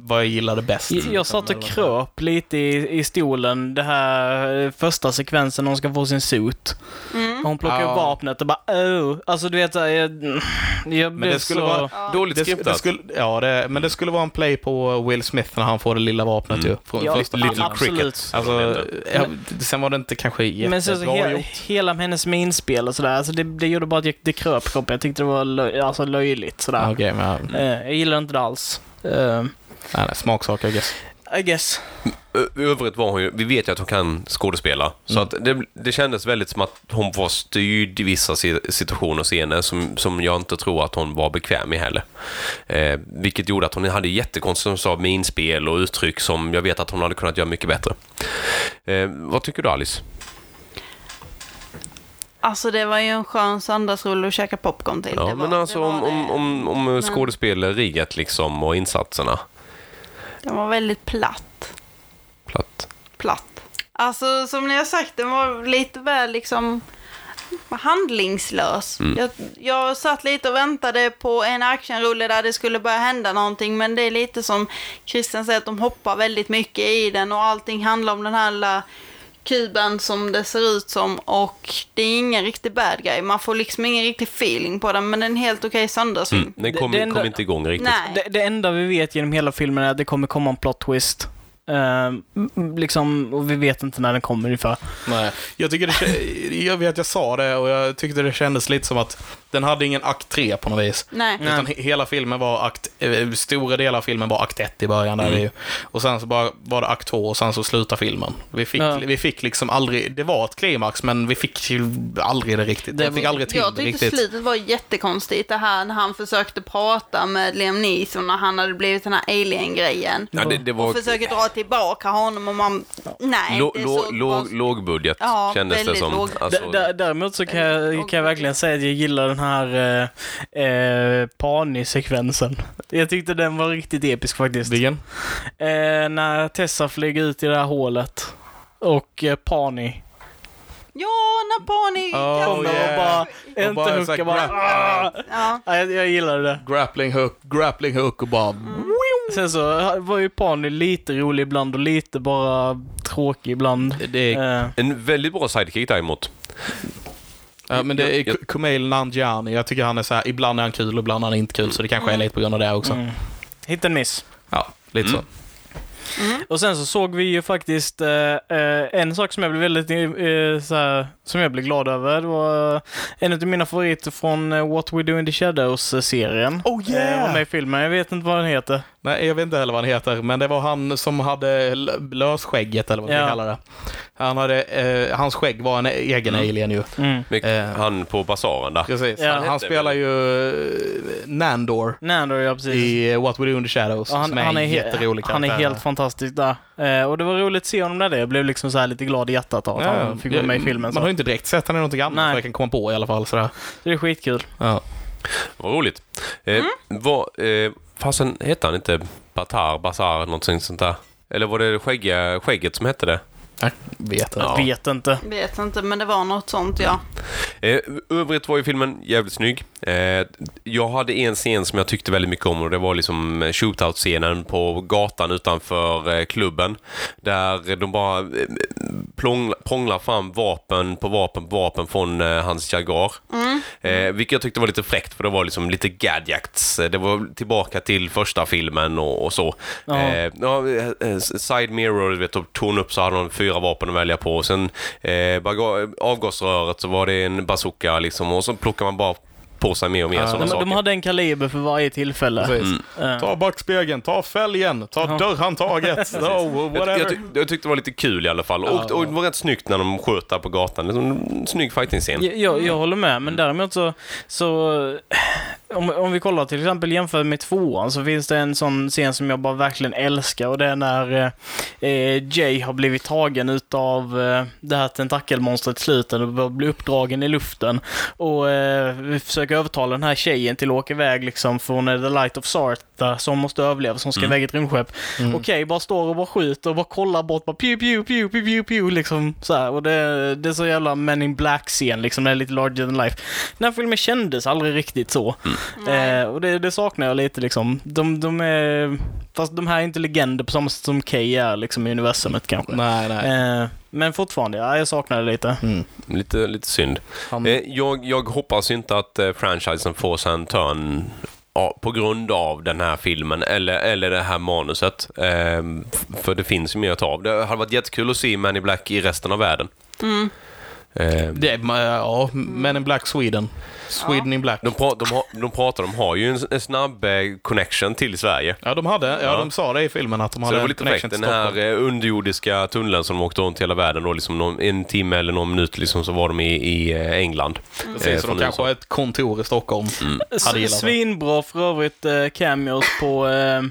[SPEAKER 1] vad jag gillade bäst.
[SPEAKER 2] Jag satt och kröp lite i, i stolen, det här eh, första sekvensen när hon ska få sin suit. Hon plockar
[SPEAKER 1] Ja.
[SPEAKER 2] upp vapnet och bara oh. Alltså du vet, så här, jag, jag
[SPEAKER 1] Men
[SPEAKER 2] blev
[SPEAKER 1] det skulle
[SPEAKER 2] så...
[SPEAKER 1] vara...
[SPEAKER 4] Dåligt
[SPEAKER 1] Det, det
[SPEAKER 4] skriptat.
[SPEAKER 1] skulle, ja, det, men det skulle vara en play på Will Smith när han får det lilla vapnet ju. Från
[SPEAKER 2] Ja,
[SPEAKER 1] första
[SPEAKER 2] a-
[SPEAKER 1] filmen.
[SPEAKER 2] absolut.
[SPEAKER 1] Alltså, ja, sen var det inte kanske
[SPEAKER 2] Men sen så
[SPEAKER 1] jättebra
[SPEAKER 2] hela,
[SPEAKER 1] gjort.
[SPEAKER 2] hela hennes minspel och sådär, alltså det, det gjorde bara att jag, det kröp kroppen. Jag tyckte det var lö, alltså löjligt sådär.
[SPEAKER 1] Ja, Okej, men ja,
[SPEAKER 2] Eh, jag gillar inte det alls. Eh,
[SPEAKER 1] nej, nej, smaksak, I guess.
[SPEAKER 2] I guess.
[SPEAKER 4] Ö- Eh, övrigt var hon ju, vi vet ju att hon kan skådespela. Så
[SPEAKER 3] Mm.
[SPEAKER 4] att det, det kändes väldigt som att hon var styrd i vissa si- situationer och scener som, som jag inte tror att hon var bekväm i heller. Eh, vilket gjorde att hon hade jättekonstigt, som du sa, minspel och uttryck som jag vet att hon hade kunnat göra mycket bättre. Eh, vad tycker du Alice?
[SPEAKER 3] Alltså det var ju en skön söndagsrulle att käka popcorn till.
[SPEAKER 4] Ja,
[SPEAKER 3] det var,
[SPEAKER 4] men alltså
[SPEAKER 3] det var
[SPEAKER 4] om, om,
[SPEAKER 3] det.
[SPEAKER 4] om, om skådespeleriet liksom och insatserna.
[SPEAKER 3] Den var väldigt platt.
[SPEAKER 4] Platt.
[SPEAKER 3] Platt. Alltså som ni har sagt, den var lite väl liksom handlingslös. Jag, jag satt lite och väntade på en actionrulle där det skulle börja hända någonting, men det är lite som Christian säger, att de hoppar väldigt mycket i den och allting handlar om den här lilla kuben som det ser ut som och det är ingen riktig bad guy. Man får liksom ingen riktig feeling på den, men den är en helt okej söndagsfilm.
[SPEAKER 4] Mm, den
[SPEAKER 2] Det-
[SPEAKER 4] kom,
[SPEAKER 2] det enda-
[SPEAKER 4] kom inte igång riktigt.
[SPEAKER 3] Nej.
[SPEAKER 2] Det, det enda vi vet genom hela filmen är att det kommer komma en plot twist. Eh, m- m- liksom, och vi vet inte när den kommer ungefär.
[SPEAKER 1] Nej. Jag, tycker det, kä- jag vet, jag sa det och jag tyckte det kändes lite som att den hade ingen akt 3 på något vis.
[SPEAKER 3] Nej.
[SPEAKER 1] Utan he- hela filmen var akt, eh, stora delar av filmen var akt 1 i början. Där
[SPEAKER 2] Mm.
[SPEAKER 1] vi, och sen så bara, var det akt 2 och sen så slutade filmen. Vi fick,
[SPEAKER 2] Ja.
[SPEAKER 1] vi fick liksom aldrig, det var ett klimax men vi fick ju aldrig det riktigt.
[SPEAKER 2] Det
[SPEAKER 1] Det fick
[SPEAKER 2] var-
[SPEAKER 1] aldrig till
[SPEAKER 3] Jag
[SPEAKER 1] det
[SPEAKER 3] tyckte
[SPEAKER 1] riktigt.
[SPEAKER 3] slutet var jättekonstigt. Det här när han försökte prata med Liam Neeson när han hade blivit den här alien-grejen.
[SPEAKER 4] Ja, det, det var...
[SPEAKER 3] Och försöker dra till tillbaka honom och man... Nej,
[SPEAKER 4] Lå-
[SPEAKER 3] det är
[SPEAKER 4] lå-
[SPEAKER 3] så
[SPEAKER 4] låg-
[SPEAKER 3] pass-
[SPEAKER 4] Lågbudget
[SPEAKER 3] Ja,
[SPEAKER 4] kändes det
[SPEAKER 3] väldigt
[SPEAKER 4] som.
[SPEAKER 3] låg.
[SPEAKER 4] Alltså,
[SPEAKER 2] D- d- däremot så kan jag, kan jag verkligen säga att jag gillar den här eh, eh, Pani-sekvensen. Jag tyckte den var riktigt episk faktiskt.
[SPEAKER 1] Vilken?
[SPEAKER 2] Eh, när Tessa flyger ut i det här hålet och eh, Pani
[SPEAKER 3] Ja, när Barney
[SPEAKER 1] Oh,
[SPEAKER 3] kastar-
[SPEAKER 2] kommer
[SPEAKER 1] yeah.
[SPEAKER 2] och bara
[SPEAKER 1] Och
[SPEAKER 2] inte
[SPEAKER 1] bara så här
[SPEAKER 2] hookar bara.
[SPEAKER 1] grab-
[SPEAKER 2] "Ah!"
[SPEAKER 3] Ja.
[SPEAKER 2] Ja, jag, jag gillade det.
[SPEAKER 1] Grappling hook, grappling hook och bara...
[SPEAKER 2] Sen så eh, var ju Pani lite rolig ibland och lite bara tråkig ibland.
[SPEAKER 1] Det är,
[SPEAKER 2] Eh,
[SPEAKER 4] en väldigt bra sidekick däremot.
[SPEAKER 1] ja, men det är K- Kumail Nanjiani. Jag tycker han är så här, ibland är han kul och ibland är han inte kul. Så det kanske är lite på grund av det också.
[SPEAKER 2] Mm. Hit and miss.
[SPEAKER 1] Ja, lite så.
[SPEAKER 2] Och sen så såg vi ju faktiskt eh, eh, en sak som jag blev väldigt eh, så här, som jag blev glad över. Det var en av mina favoriter från eh, What We Do In The Shadows-serien.
[SPEAKER 1] Oh
[SPEAKER 2] Eh, och med i filmen. Jag vet inte vad den heter.
[SPEAKER 1] Nej, jag vet inte heller vad han heter, men det var han som hade l- lösskägget eller vad man
[SPEAKER 2] Ja.
[SPEAKER 1] ska kalla det. Han hade, eh, hans skägg var en egen
[SPEAKER 4] Mm.
[SPEAKER 1] alien ju.
[SPEAKER 4] Mycket-
[SPEAKER 1] Eh.
[SPEAKER 4] Han på basaren där.
[SPEAKER 1] Precis.
[SPEAKER 2] Ja.
[SPEAKER 1] han, han spelar ju eh, Nandor
[SPEAKER 2] Nando, ja precis.
[SPEAKER 1] i What We Do In The Shadows,
[SPEAKER 2] Och
[SPEAKER 1] som är en
[SPEAKER 2] he-
[SPEAKER 1] jätterolig
[SPEAKER 2] Han
[SPEAKER 1] karaktär.
[SPEAKER 2] är helt fantastisk där. Eh, och det var roligt att se honom där. det. Jag blev liksom så här lite glad i hjärtat av att han fick vara med i filmen.
[SPEAKER 1] mm. Man
[SPEAKER 2] Så.
[SPEAKER 1] har ju inte direkt sett han i någonting annat,
[SPEAKER 2] Nej.
[SPEAKER 1] vad jag kan komma på i alla fall. Sådär.
[SPEAKER 2] så det är skitkul.
[SPEAKER 1] Ja.
[SPEAKER 4] Vad roligt. Eh, vad, eh, fasen, hette han inte Batar, Basar, någonting sånt där? Eller var det skäggiga, skägget som hette det?
[SPEAKER 1] Jag vet inte.
[SPEAKER 4] Ja.
[SPEAKER 2] Vet inte.
[SPEAKER 3] Vet inte, men det var något sånt ja.
[SPEAKER 4] Eh, övrigt var ju filmen jävligt snygg. Eh, jag hade en scen som jag tyckte väldigt mycket om och det var liksom shootout-scenen på gatan utanför eh, klubben. Där de bara eh, plång, prånglar fram vapen på vapen på vapen från eh, hans Jaguar. Eh, vilket jag tyckte var lite fräckt för det var liksom lite gadgets. Eh, Det var tillbaka till första filmen och, och så.
[SPEAKER 2] Ja.
[SPEAKER 4] Eh, ja, eh, side mirror, du vet, och torn upp så hade de fyra vapen att välja på. Och sen eh, baga- avgasröret så var det en bazooka liksom och så plockar man bara på sig mer och mer
[SPEAKER 1] Ja,
[SPEAKER 4] sådana
[SPEAKER 2] De,
[SPEAKER 4] saker.
[SPEAKER 2] de hade en kaliber för varje tillfälle.
[SPEAKER 1] Precis.
[SPEAKER 4] Mm.
[SPEAKER 2] Eh.
[SPEAKER 1] Ta backspegeln, ta fälgen, ta dörrhandtaget, no,
[SPEAKER 4] Jag,
[SPEAKER 1] whatever.
[SPEAKER 4] jag, tyck, jag tyckte det var lite kul i alla fall. Och, och det var rätt snyggt när de sköt där på gatan. Liksom, en snygg fighting-scen.
[SPEAKER 2] Jag, jag, jag håller med, men däremot så... så eh, om, om vi kollar till exempel jämför med tvåan så finns det en sån scen som jag bara verkligen älskar och det är när eh, eh, Jay har blivit tagen utav eh, det här tentakelmonstret i slutet och bör- blir uppdragen i luften. Och eh, vi försöker övertala den här tjejen till att åka iväg liksom från eh, The Light of Sarta som måste överleva,
[SPEAKER 1] Mm.
[SPEAKER 2] som ska iväg i ett rymdskepp. Okej, bara står och bara skjuter och bara kollar bort, bara pew pew pew pew pew pew liksom så här. Och det, det är så jävla Men in Black-scen liksom, det är lite larger than life. Den här filmen kändes aldrig riktigt så.
[SPEAKER 1] Mm.
[SPEAKER 2] Eh, och det, det saknar jag lite liksom. De, de är, fast de här är inte legender på samma sätt som Kay är liksom i universumet kanske.
[SPEAKER 1] Nej, nej. Mm.
[SPEAKER 2] Eh, men fortfarande, ja, jag saknar det lite.
[SPEAKER 4] Lite, lite synd.
[SPEAKER 1] Han-
[SPEAKER 4] Eh, jag, jag hoppas inte att eh, franchisen får sig en törn ja, på grund av den här filmen eller, eller det här manuset. Eh, f- för det finns ju mer att ta av. Det hade varit jättekul att se Man in Black i resten av världen.
[SPEAKER 1] Mm.
[SPEAKER 4] Eh,
[SPEAKER 1] Det, är- ja,
[SPEAKER 2] Mm.
[SPEAKER 1] Men in Black Sweden. Sweden in Black.
[SPEAKER 4] de, pra- de, har, de pratar, de har ju en, s- en snabb eh, connection till Sverige.
[SPEAKER 1] Ja, de hade. Ja,
[SPEAKER 4] Ja.
[SPEAKER 1] de sa det i filmen att de
[SPEAKER 4] Så
[SPEAKER 1] hade
[SPEAKER 4] det var
[SPEAKER 1] en
[SPEAKER 4] lite
[SPEAKER 1] connection
[SPEAKER 4] fräckt.
[SPEAKER 1] till
[SPEAKER 4] Den här
[SPEAKER 1] Stockholm.
[SPEAKER 4] eh, underjordiska tunneln som de åkte runt i hela världen då, liksom någon, en timme eller någon minut liksom, så var de i, i eh, England. eh,
[SPEAKER 1] Mm. Precis, så
[SPEAKER 4] från
[SPEAKER 1] de kanske
[SPEAKER 4] USA. Mm.
[SPEAKER 1] har ett kontor i Stockholm. Hade gillat det.
[SPEAKER 2] Svinbra för övrigt eh, cameos på eh,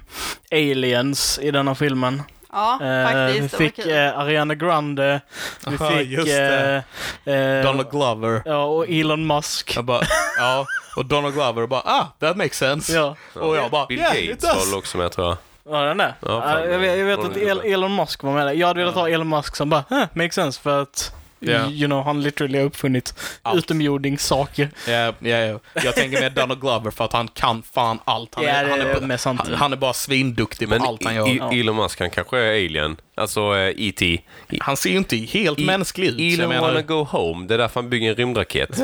[SPEAKER 2] Aliens i denna filmen.
[SPEAKER 3] Ja,
[SPEAKER 2] Eh,
[SPEAKER 3] faktiskt.
[SPEAKER 2] vi
[SPEAKER 3] Det
[SPEAKER 2] fick
[SPEAKER 3] var kul.
[SPEAKER 2] eh, Ariana Grande, vi
[SPEAKER 1] Ja,
[SPEAKER 2] fick
[SPEAKER 1] just det.
[SPEAKER 2] eh, eh,
[SPEAKER 1] Donald Glover.
[SPEAKER 2] ja, och Elon Musk.
[SPEAKER 1] Jag bara, ja. Och Donald Glover bara, ah, that makes sense.
[SPEAKER 2] Ja,
[SPEAKER 1] Och jag bara,
[SPEAKER 4] Bill
[SPEAKER 1] yeah, it
[SPEAKER 4] Gates
[SPEAKER 1] does.
[SPEAKER 4] var också med tror jag.
[SPEAKER 2] var den det?
[SPEAKER 4] Ja, fan,
[SPEAKER 2] Eh, jag, vet- jag vet
[SPEAKER 4] var den
[SPEAKER 2] att El-
[SPEAKER 4] gubben.
[SPEAKER 2] Elon Musk var med där. Jag hade velat ha Elon Musk som bara, huh, makes sense för att
[SPEAKER 1] Ja.
[SPEAKER 2] You know, han literally har uppfunnit
[SPEAKER 1] Allt.
[SPEAKER 2] utomjordingssaker.
[SPEAKER 1] Ja, ja, ja. Jag tänker med Donald Glover för att han kan fan allt. Han,
[SPEAKER 2] Ja,
[SPEAKER 1] är,
[SPEAKER 2] det
[SPEAKER 1] han,
[SPEAKER 2] är
[SPEAKER 1] är,
[SPEAKER 2] mest sant.
[SPEAKER 1] han, han är bara svinduktig på
[SPEAKER 4] Men
[SPEAKER 1] allt han gör.
[SPEAKER 4] I- I- Elon Musk, han kanske är alien. Alltså eh, E.T.
[SPEAKER 1] han ser ju inte helt
[SPEAKER 4] I-
[SPEAKER 1] mänsklig ut. så jag
[SPEAKER 4] Elon
[SPEAKER 1] menar-
[SPEAKER 4] wanna go home. Det är därför han bygger en rymdraket.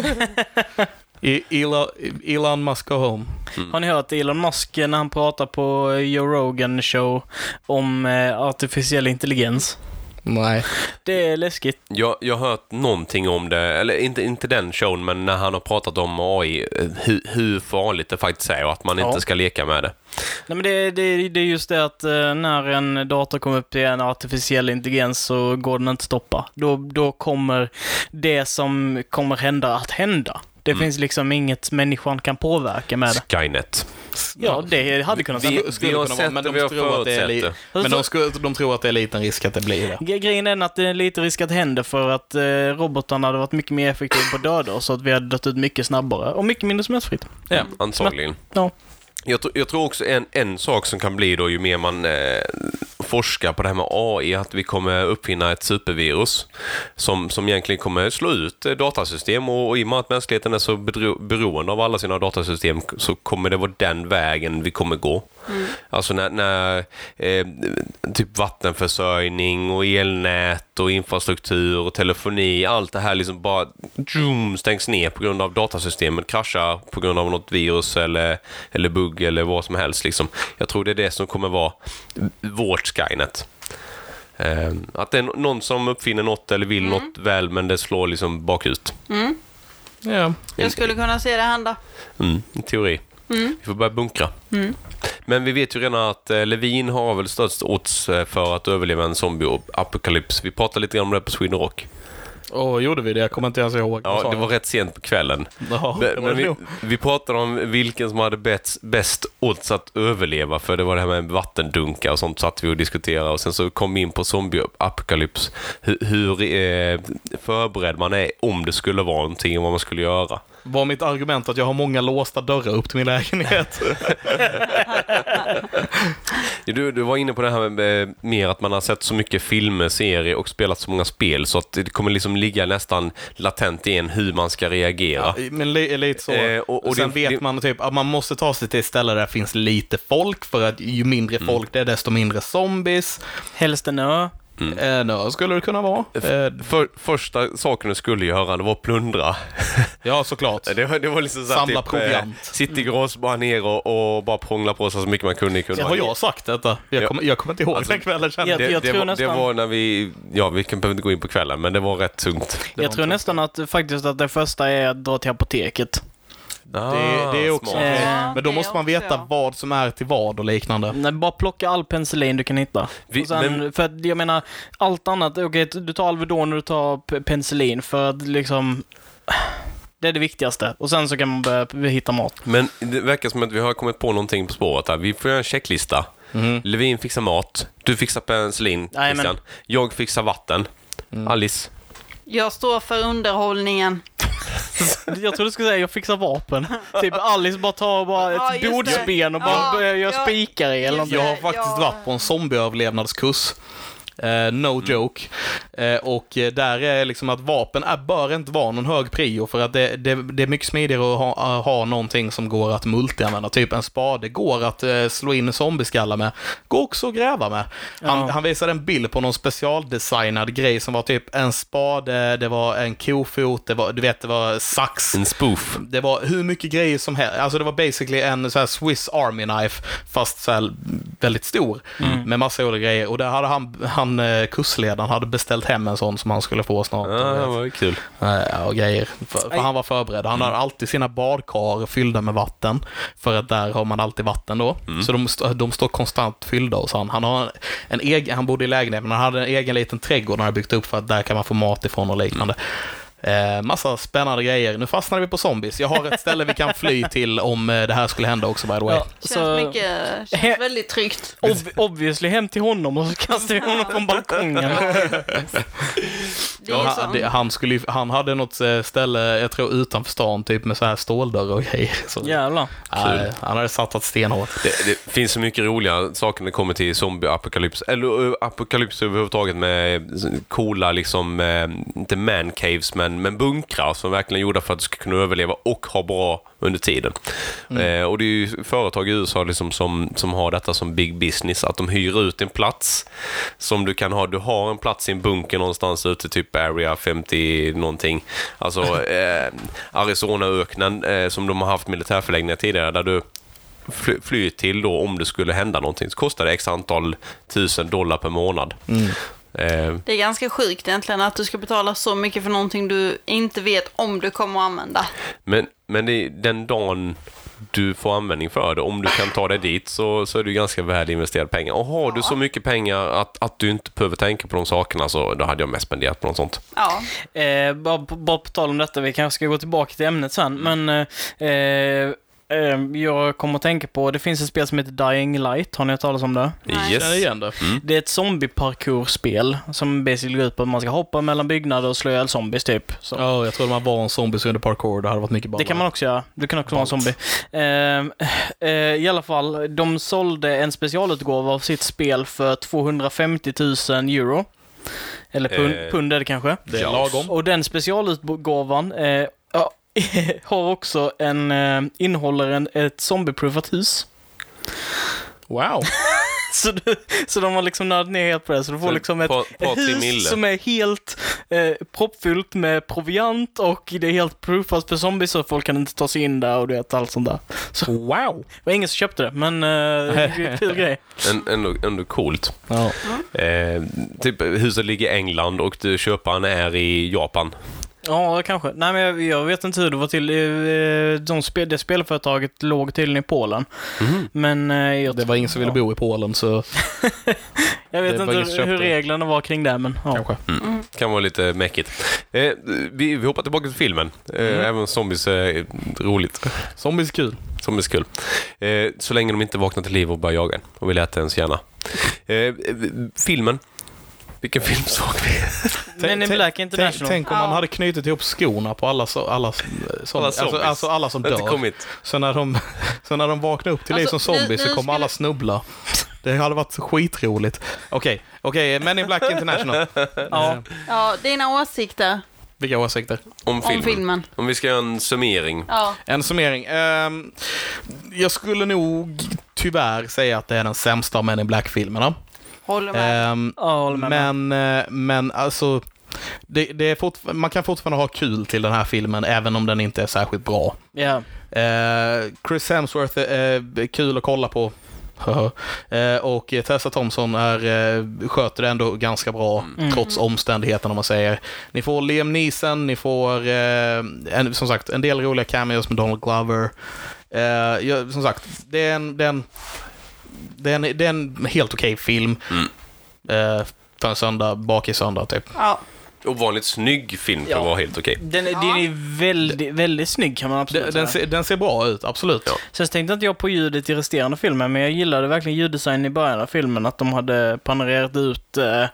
[SPEAKER 1] I- Elon, Elon Musk go home.
[SPEAKER 2] Har ni hört Elon Musk när han pratar på Joe Rogan show om eh, artificiell intelligens?
[SPEAKER 1] Nej.
[SPEAKER 2] Det är läskigt.
[SPEAKER 4] jag, jag har hört någonting om det, eller inte, inte den showen, men när han har pratat om AI, eh, hur, hur farligt det faktiskt är och att man
[SPEAKER 2] Ja.
[SPEAKER 4] inte ska leka med det.
[SPEAKER 2] Nej, men det, det, det är just det att eh, när en dator kommer upp till en artificiell intelligens så går den inte att stoppa. Då, då kommer det som kommer hända att hända. Det
[SPEAKER 4] Mm.
[SPEAKER 2] finns liksom inget människan kan påverka med det.
[SPEAKER 4] Skynet.
[SPEAKER 2] Ja, det hade kunnat
[SPEAKER 4] Vi-
[SPEAKER 2] vi,
[SPEAKER 1] Det skulle
[SPEAKER 4] vi har
[SPEAKER 1] kunna
[SPEAKER 4] sett
[SPEAKER 1] men
[SPEAKER 4] det,
[SPEAKER 1] de
[SPEAKER 4] vi har
[SPEAKER 1] tror att det är li-
[SPEAKER 4] förutsett
[SPEAKER 1] Men de, skulle, de tror att det är liten risk att det blir det.
[SPEAKER 2] Grejen är den att det är lite risk att det händer för att eh, robotarna hade varit mycket mer effektiva på att döda oss så att vi hade dött ut mycket snabbare och mycket mindre smärtfritt.
[SPEAKER 1] Ja.
[SPEAKER 4] Antagligen.
[SPEAKER 2] Ja.
[SPEAKER 4] Jag, tr- jag tror också en, en sak som kan bli då ju mer man eh, forskar på det här med AI, att vi kommer uppfinna ett supervirus som, som egentligen kommer slå ut eh, datasystem och, och i och med att mänskligheten är så bedro, beroende av alla sina datasystem k- så kommer det vara den vägen vi kommer gå. Alltså när, när eh, typ vattenförsörjning och elnät och infrastruktur och telefoni, allt det här liksom bara tjum, stängs ner på grund av datasystemet, kraschar på grund av något virus eller, eller bugg eller vad som helst. Liksom. Jag tror det är det som kommer vara vårt Skynet. Eh, att det är no- någon som uppfinner något eller vill något väl, men det slår liksom bakut.
[SPEAKER 1] Ja.
[SPEAKER 3] Jag skulle kunna se det hända.
[SPEAKER 4] Mm, i teori. Vi får börja bunkra. Men vi vet ju redan att eh, Levin har väl störst odds eh, för att överleva en zombieapokalyps. Vi pratade lite grann om det på Sweden Rock.
[SPEAKER 1] Och gjorde vi det? Jag kommer inte ens ihåg. vad
[SPEAKER 4] Ja,
[SPEAKER 1] sa
[SPEAKER 4] det var
[SPEAKER 1] jag?
[SPEAKER 4] rätt sent på kvällen.
[SPEAKER 1] Ja, det
[SPEAKER 4] Men,
[SPEAKER 1] var
[SPEAKER 4] men
[SPEAKER 1] det
[SPEAKER 4] vi,
[SPEAKER 1] nog.
[SPEAKER 4] vi pratade om vilken som hade bäst, bäst odds att överleva, för det var det här med vattendunkar och sånt satt vi och diskuterade och sen så kom vi in på zombieapokalyps. Hur, hur eh, förberedd man är om det skulle vara någonting och vad man skulle göra.
[SPEAKER 1] Var mitt argument att jag har många låsta dörrar upp till min lägenhet?
[SPEAKER 4] Du, du var inne på det här med eh, mer att man har sett så mycket filmer, serier och spelat så många spel så att det kommer liksom ligga nästan latent i en hur man ska reagera.
[SPEAKER 1] Men li, lite så.
[SPEAKER 4] Eh, och- och
[SPEAKER 1] Sen
[SPEAKER 4] din-
[SPEAKER 1] vet
[SPEAKER 4] din-
[SPEAKER 1] man typ att man måste ta sig till ett ställe där det finns lite folk, för att ju mindre
[SPEAKER 4] Mm.
[SPEAKER 1] folk det är, desto mindre zombies.
[SPEAKER 2] Helst en ö.
[SPEAKER 1] Mm. Eh, då skulle det kunna vara. Eh,
[SPEAKER 4] För, första saken du skulle göra det var att plundra.
[SPEAKER 1] ja, såklart.
[SPEAKER 4] Det var, det var liksom så här
[SPEAKER 1] Samla
[SPEAKER 4] typ,
[SPEAKER 1] proviant.
[SPEAKER 4] eh, Sitt i grås, bara ner och, och bara prångla på sig så mycket man kunde i
[SPEAKER 1] Har
[SPEAKER 4] kulorna.
[SPEAKER 1] jag sagt detta?
[SPEAKER 4] Ja.
[SPEAKER 1] Jag kommer, jag kommer inte ihåg
[SPEAKER 4] Alltså,
[SPEAKER 1] den kvällen känner jag.
[SPEAKER 2] jag-
[SPEAKER 4] Det,
[SPEAKER 2] jag
[SPEAKER 4] det,
[SPEAKER 2] tror
[SPEAKER 4] var, det
[SPEAKER 2] nästan-
[SPEAKER 4] var när vi, ja vi kan- behöver inte gå in på kvällen, men det var rätt tungt.
[SPEAKER 2] Jag tror nästan att faktiskt att det första är att dra till apoteket.
[SPEAKER 1] Det, det är också
[SPEAKER 4] smart.
[SPEAKER 1] en grej.
[SPEAKER 2] Eh,
[SPEAKER 1] Ah, Men då
[SPEAKER 3] det
[SPEAKER 1] måste man
[SPEAKER 3] också,
[SPEAKER 1] veta
[SPEAKER 3] ja.
[SPEAKER 1] vad som är till vad och liknande.
[SPEAKER 2] Nej, bara plocka all penicillin du kan hitta.
[SPEAKER 4] Vi-
[SPEAKER 2] och sen,
[SPEAKER 4] men-
[SPEAKER 2] För att jag menar, allt annat. Okej, du tar Alvedon och du tar p- penicillin för att liksom... Det är det viktigaste. Och sen så kan man börja p- hitta mat.
[SPEAKER 4] Men det verkar som att vi har kommit på någonting på spåret här. Vi får göra en checklista. Levin fixar mat. Du fixar penicillin,
[SPEAKER 2] Jajamän.
[SPEAKER 4] Christian. Jag fixar vatten. Alice.
[SPEAKER 3] Jag står för underhållningen.
[SPEAKER 2] Jag trodde du skulle säga jag fixar vapen. typ Alice bara tar bara
[SPEAKER 3] Ja,
[SPEAKER 2] ett
[SPEAKER 3] just det.
[SPEAKER 2] bodben och
[SPEAKER 3] Ja,
[SPEAKER 2] bara börjar göra
[SPEAKER 3] ja.
[SPEAKER 2] spikar i eller
[SPEAKER 3] Just
[SPEAKER 2] någonting.
[SPEAKER 1] Jag har
[SPEAKER 3] Nej,
[SPEAKER 1] faktiskt
[SPEAKER 3] jag-
[SPEAKER 1] varit på en zombieöverlevnadskurs. Eh, no joke. Eh, och eh, där är liksom att vapen är, bör inte vara någon hög prio för att det, det, det är mycket smidigare att ha, eh, ha någonting som går att multianvända. Typ en spade går att eh, slå in zombieskallar med. Går också att gräva med. Han,
[SPEAKER 2] Ja.
[SPEAKER 1] han visade en bild på någon specialdesignad grej som var typ en spade, det var en kofot, det var, du vet, det var sax.
[SPEAKER 4] En spoof.
[SPEAKER 1] Det var hur mycket grejer som helst. Alltså det var basically en så här Swiss Army Knife, fast så här väldigt stor. Med massa olika grejer. Och där hade han, han eh, kursledaren hade beställt hem en sån som han skulle få snart.
[SPEAKER 4] Ja, det var ju kul.
[SPEAKER 1] Eh, Och grejer. För, för han var förberedd. Han hade alltid sina badkar fyllda med vatten. För att där har man alltid vatten då. Så de, st- de står konstant fyllda hos han. Han, har en, en egen, han bodde i lägenhet, men han hade en egen liten trädgård han hade byggt upp för att där kan man få mat ifrån och liknande. Eh, massa spännande grejer. Nu fastnar vi på zombies. Jag har ett ställe vi kan fly till om eh, det här skulle hända också by the way.
[SPEAKER 2] Ja,
[SPEAKER 3] Känns,
[SPEAKER 2] så
[SPEAKER 3] mycket,
[SPEAKER 2] He-
[SPEAKER 3] känns väldigt tryggt.
[SPEAKER 2] ob- obviously hem till honom och så kastar vi honom från balkongen.
[SPEAKER 3] Det är
[SPEAKER 1] han,
[SPEAKER 3] sånt.
[SPEAKER 1] det, han, skulle, ju- han hade något eh, ställe, jag tror utanför stan, typ med så här ståldörrar och grejer. Så,
[SPEAKER 2] Jävlar.
[SPEAKER 1] Nej, han hade satsat stenhårt.
[SPEAKER 4] Det, det finns så mycket roliga saker när det kommer till zombieapokalyps. Eller eh, apokalyps överhuvudtaget med coola, liksom, eh, inte man caves, men, men bunkrar som verkligen är gjorda för att du ska kunna överleva och ha bra under tiden. Eh, och Det är ju företag i USA liksom som, som har detta som big business, att de hyr ut en plats som du kan ha. Du har en plats i en bunker någonstans ute, typ Area 50 någonting. Alltså eh, Arizonaöknen eh, som de har haft militärförläggningar tidigare, där du fly, fly till då om det skulle hända någonting. Så kostar det x antal tusen dollar per månad. Eh,
[SPEAKER 3] Det är ganska sjukt egentligen att du ska betala så mycket för någonting du inte vet om du kommer att använda.
[SPEAKER 4] men men det, den dagen du får användning för det. Om du kan ta dig dit så, så är det ju ganska väl investerade pengar. Och har du så mycket pengar att, att du inte behöver tänka på de sakerna så då hade jag mest spenderat på något sånt.
[SPEAKER 3] Ja.
[SPEAKER 2] Eh, bara, på- bara på tal om detta, vi kanske ska gå tillbaka till ämnet sen, men eh, eh, eh, jag kommer att tänka på, det finns ett spel som heter Dying Light, har ni hört talas om det?
[SPEAKER 3] Nej.
[SPEAKER 1] Känner
[SPEAKER 4] Yes.
[SPEAKER 1] igen det.
[SPEAKER 2] Det är ett zombie-parkour-spel som basically går ut på att man ska hoppa mellan byggnader och slå ihjäl zombies typ. Så.
[SPEAKER 1] Ja, jag trodde man var en zombie som gjorde parkour. Det hade varit mycket ballare.
[SPEAKER 2] Det kan man också göra. Du kan också vara en zombie. Eh, eh, I alla fall, de sålde en specialutgåva av sitt spel för 250 000 euro. Eller pund,
[SPEAKER 4] Eh,
[SPEAKER 2] pund är det kanske.
[SPEAKER 1] Det är
[SPEAKER 4] Ja.
[SPEAKER 1] lagom.
[SPEAKER 2] Och den specialutgåvan eh, ja, har också en, eh, innehåller en, ett zombieproofat hus.
[SPEAKER 1] Wow.
[SPEAKER 2] Så, du, så de har liksom nördat ner helt på det. Så du får
[SPEAKER 4] Så
[SPEAKER 2] liksom ett,
[SPEAKER 4] par- par,
[SPEAKER 2] ett
[SPEAKER 4] tre
[SPEAKER 2] hus
[SPEAKER 4] mille.
[SPEAKER 2] som är helt eh, proppfyllt med proviant och det är helt proofat för zombies så folk kan inte ta sig in där och du vet allt sånt där.
[SPEAKER 1] Wow.
[SPEAKER 2] Det var ingen som köpte det, men eh, kul grej.
[SPEAKER 4] Än- Ändå, ändå coolt.
[SPEAKER 1] Ja.
[SPEAKER 4] Eh, typ huset ligger i England och du, köparen är i Japan.
[SPEAKER 2] Ja, kanske. Nej, men jag, jag vet inte hur det var till. eh, De spel, det spelföretaget låg tydligen i Polen.
[SPEAKER 4] Mhm.
[SPEAKER 2] Men eh, jag,
[SPEAKER 1] Det var ingen som ville
[SPEAKER 2] Ja.
[SPEAKER 1] bo i Polen, så
[SPEAKER 2] jag vet
[SPEAKER 1] det var
[SPEAKER 2] inte
[SPEAKER 1] ingen som
[SPEAKER 2] hur,
[SPEAKER 1] köpte
[SPEAKER 2] hur
[SPEAKER 1] det.
[SPEAKER 2] reglerna var kring det, men ja.
[SPEAKER 1] kanske.
[SPEAKER 4] Kan vara lite mäckigt. Eh, vi, vi hoppar tillbaka till filmen. Eh, Även om zombies är roligt.
[SPEAKER 1] Zombies är kul.
[SPEAKER 4] Zombies är kul. Eh, så länge de inte vaknar till liv och börjar jaga en och vill äta ens hjärna. Eh, filmen. Vilken film såg vi?
[SPEAKER 2] Men in
[SPEAKER 1] Tänk-
[SPEAKER 2] Black
[SPEAKER 1] Tänk,
[SPEAKER 2] International.
[SPEAKER 1] tänk om
[SPEAKER 3] Ja.
[SPEAKER 1] man hade knutit ihop skorna på alla, so- alla, s- som,
[SPEAKER 4] Alla
[SPEAKER 1] alltså,
[SPEAKER 4] zombies.
[SPEAKER 1] alltså alla som
[SPEAKER 4] Det har inte
[SPEAKER 1] dör.
[SPEAKER 4] kommit.
[SPEAKER 1] Så när, de, så när de vaknar upp till liv
[SPEAKER 3] Alltså,
[SPEAKER 1] som
[SPEAKER 3] nu-
[SPEAKER 1] zombies så
[SPEAKER 3] nu
[SPEAKER 1] kommer
[SPEAKER 3] skulle-
[SPEAKER 1] alla snubbla. Det hade varit skitroligt. Okej, okej, Men in Black International.
[SPEAKER 2] Ja.
[SPEAKER 3] ja, dina åsikter
[SPEAKER 1] Vilka åsikter?
[SPEAKER 4] Om
[SPEAKER 3] om
[SPEAKER 4] filmen.
[SPEAKER 3] filmen.
[SPEAKER 4] Om vi ska göra en summering.
[SPEAKER 3] Ja.
[SPEAKER 1] En summering. Ehm, jag skulle nog tyvärr säga att det är den sämsta av Men in Black-filmerna.
[SPEAKER 3] Håller med.
[SPEAKER 1] Ehm,
[SPEAKER 2] Ja, jag håller med.
[SPEAKER 1] men, eh, men alltså, det, det är fortfar- man kan fortfarande ha kul till den här filmen även om den inte är särskilt bra.
[SPEAKER 2] Ja.
[SPEAKER 1] Eh, Chris Hemsworth är eh, kul att kolla på. Eh, och Tessa Thompson är, eh, sköter det ändå ganska bra
[SPEAKER 4] Mm.
[SPEAKER 1] trots omständigheterna om man säger. Ni får Liam Neeson, ni får eh, en, som sagt en del roliga cameos med Donald Glover. Eh, ja, som sagt, det är en, det är en, det är en, det är en helt okej film.
[SPEAKER 4] Mm.
[SPEAKER 1] Eh, för en söndag, bak i söndag typ.
[SPEAKER 3] Ja.
[SPEAKER 4] Ovanligt snygg film för att
[SPEAKER 2] Ja.
[SPEAKER 4] vara helt okej.
[SPEAKER 2] Den,
[SPEAKER 3] Ja.
[SPEAKER 2] den är väldigt, väldigt snygg kan man
[SPEAKER 1] Den,
[SPEAKER 2] absolut
[SPEAKER 1] den,
[SPEAKER 2] säga.
[SPEAKER 1] ser, den ser bra ut, absolut.
[SPEAKER 4] Ja.
[SPEAKER 2] Sen tänkte inte jag på ljudet i resterande filmen, men jag gillade verkligen ljuddesignen i början av filmen. Att de hade panorerat ut eh,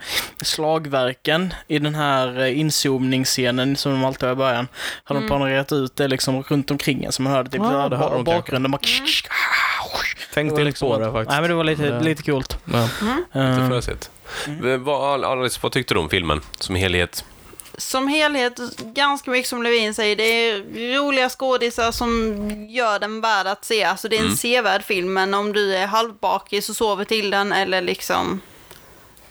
[SPEAKER 2] slagverken i den här eh, inzoomningsscenen som de alltid har i början. Hade de panorerat ut det liksom runt omkring en, så man hörde typ
[SPEAKER 1] Ja,
[SPEAKER 2] så här
[SPEAKER 1] det har
[SPEAKER 2] ba-
[SPEAKER 1] de
[SPEAKER 2] bakgrunden. Bara,
[SPEAKER 1] Tänkte inte på det faktiskt.
[SPEAKER 2] liksom Nej, men det var lite,
[SPEAKER 1] Det-
[SPEAKER 2] lite coolt.
[SPEAKER 1] Ja.
[SPEAKER 4] Det
[SPEAKER 2] Eh,
[SPEAKER 4] får jag sett. Mm. Vad, Alice, vad tyckte du om filmen som helhet?
[SPEAKER 3] Som helhet, ganska mycket som Levin säger, det är roliga skådisar som gör den värd att se. Alltså det är en sevärd film, men om du är halvbakis och sover till den eller liksom...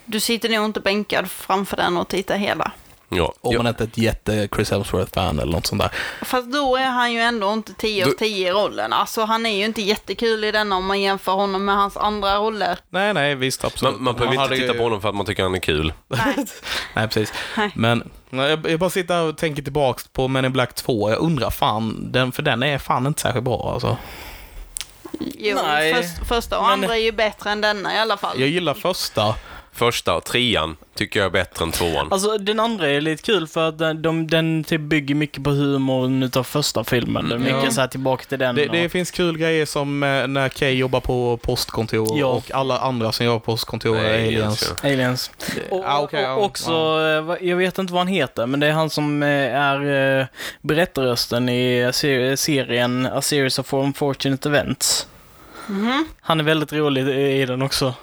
[SPEAKER 3] Du sitter nog inte bänkad framför den och tittar hela.
[SPEAKER 4] Ja.
[SPEAKER 1] Om
[SPEAKER 4] ja.
[SPEAKER 1] man inte är ett jätte Chris Hemsworth-fan eller något sånt där.
[SPEAKER 3] Fast då är han ju ändå inte 10 av
[SPEAKER 4] Du-
[SPEAKER 3] 10 i rollen. Alltså han är ju inte jättekul i denna om man jämför honom med hans andra roller.
[SPEAKER 1] Nej, nej, visst, absolut.
[SPEAKER 4] Man, man behöver inte titta på honom för att man tycker han är kul.
[SPEAKER 3] Nej.
[SPEAKER 1] Nej, precis.
[SPEAKER 3] Nej.
[SPEAKER 1] Men nej, jag, jag bara sitter här och tänker tillbaks på Men in Black 2. Jag undrar fan, den, för den är fan inte särskilt bra alltså.
[SPEAKER 3] Jo,
[SPEAKER 2] Nej.
[SPEAKER 3] Först, första och
[SPEAKER 2] Men-
[SPEAKER 3] andra är ju bättre än denna i alla fall.
[SPEAKER 1] Jag gillar första.
[SPEAKER 4] Första, trean, tycker jag är bättre än tvåan.
[SPEAKER 2] Alltså den andra är lite kul för att den, de, den typ bygger mycket på humorn utav första filmen. Det är mycket
[SPEAKER 1] Ja.
[SPEAKER 2] så här tillbaka till den.
[SPEAKER 1] Det,
[SPEAKER 2] och-
[SPEAKER 1] det finns kul grejer som eh, när Kay jobbar på postkontor
[SPEAKER 2] Ja.
[SPEAKER 1] och alla andra som jobbar på postkontor är
[SPEAKER 4] Nej,
[SPEAKER 1] Alltså,
[SPEAKER 4] alltså.
[SPEAKER 1] aliens.
[SPEAKER 4] ja.
[SPEAKER 2] Aliens. Och,
[SPEAKER 1] ah, okej,
[SPEAKER 2] och,
[SPEAKER 1] ja,
[SPEAKER 2] och också, eh, va- jag vet inte vad han heter, men det är han som eh, är eh, berättarrösten i se- serien A Series of Unfortunate Events. Han är väldigt rolig i i den också.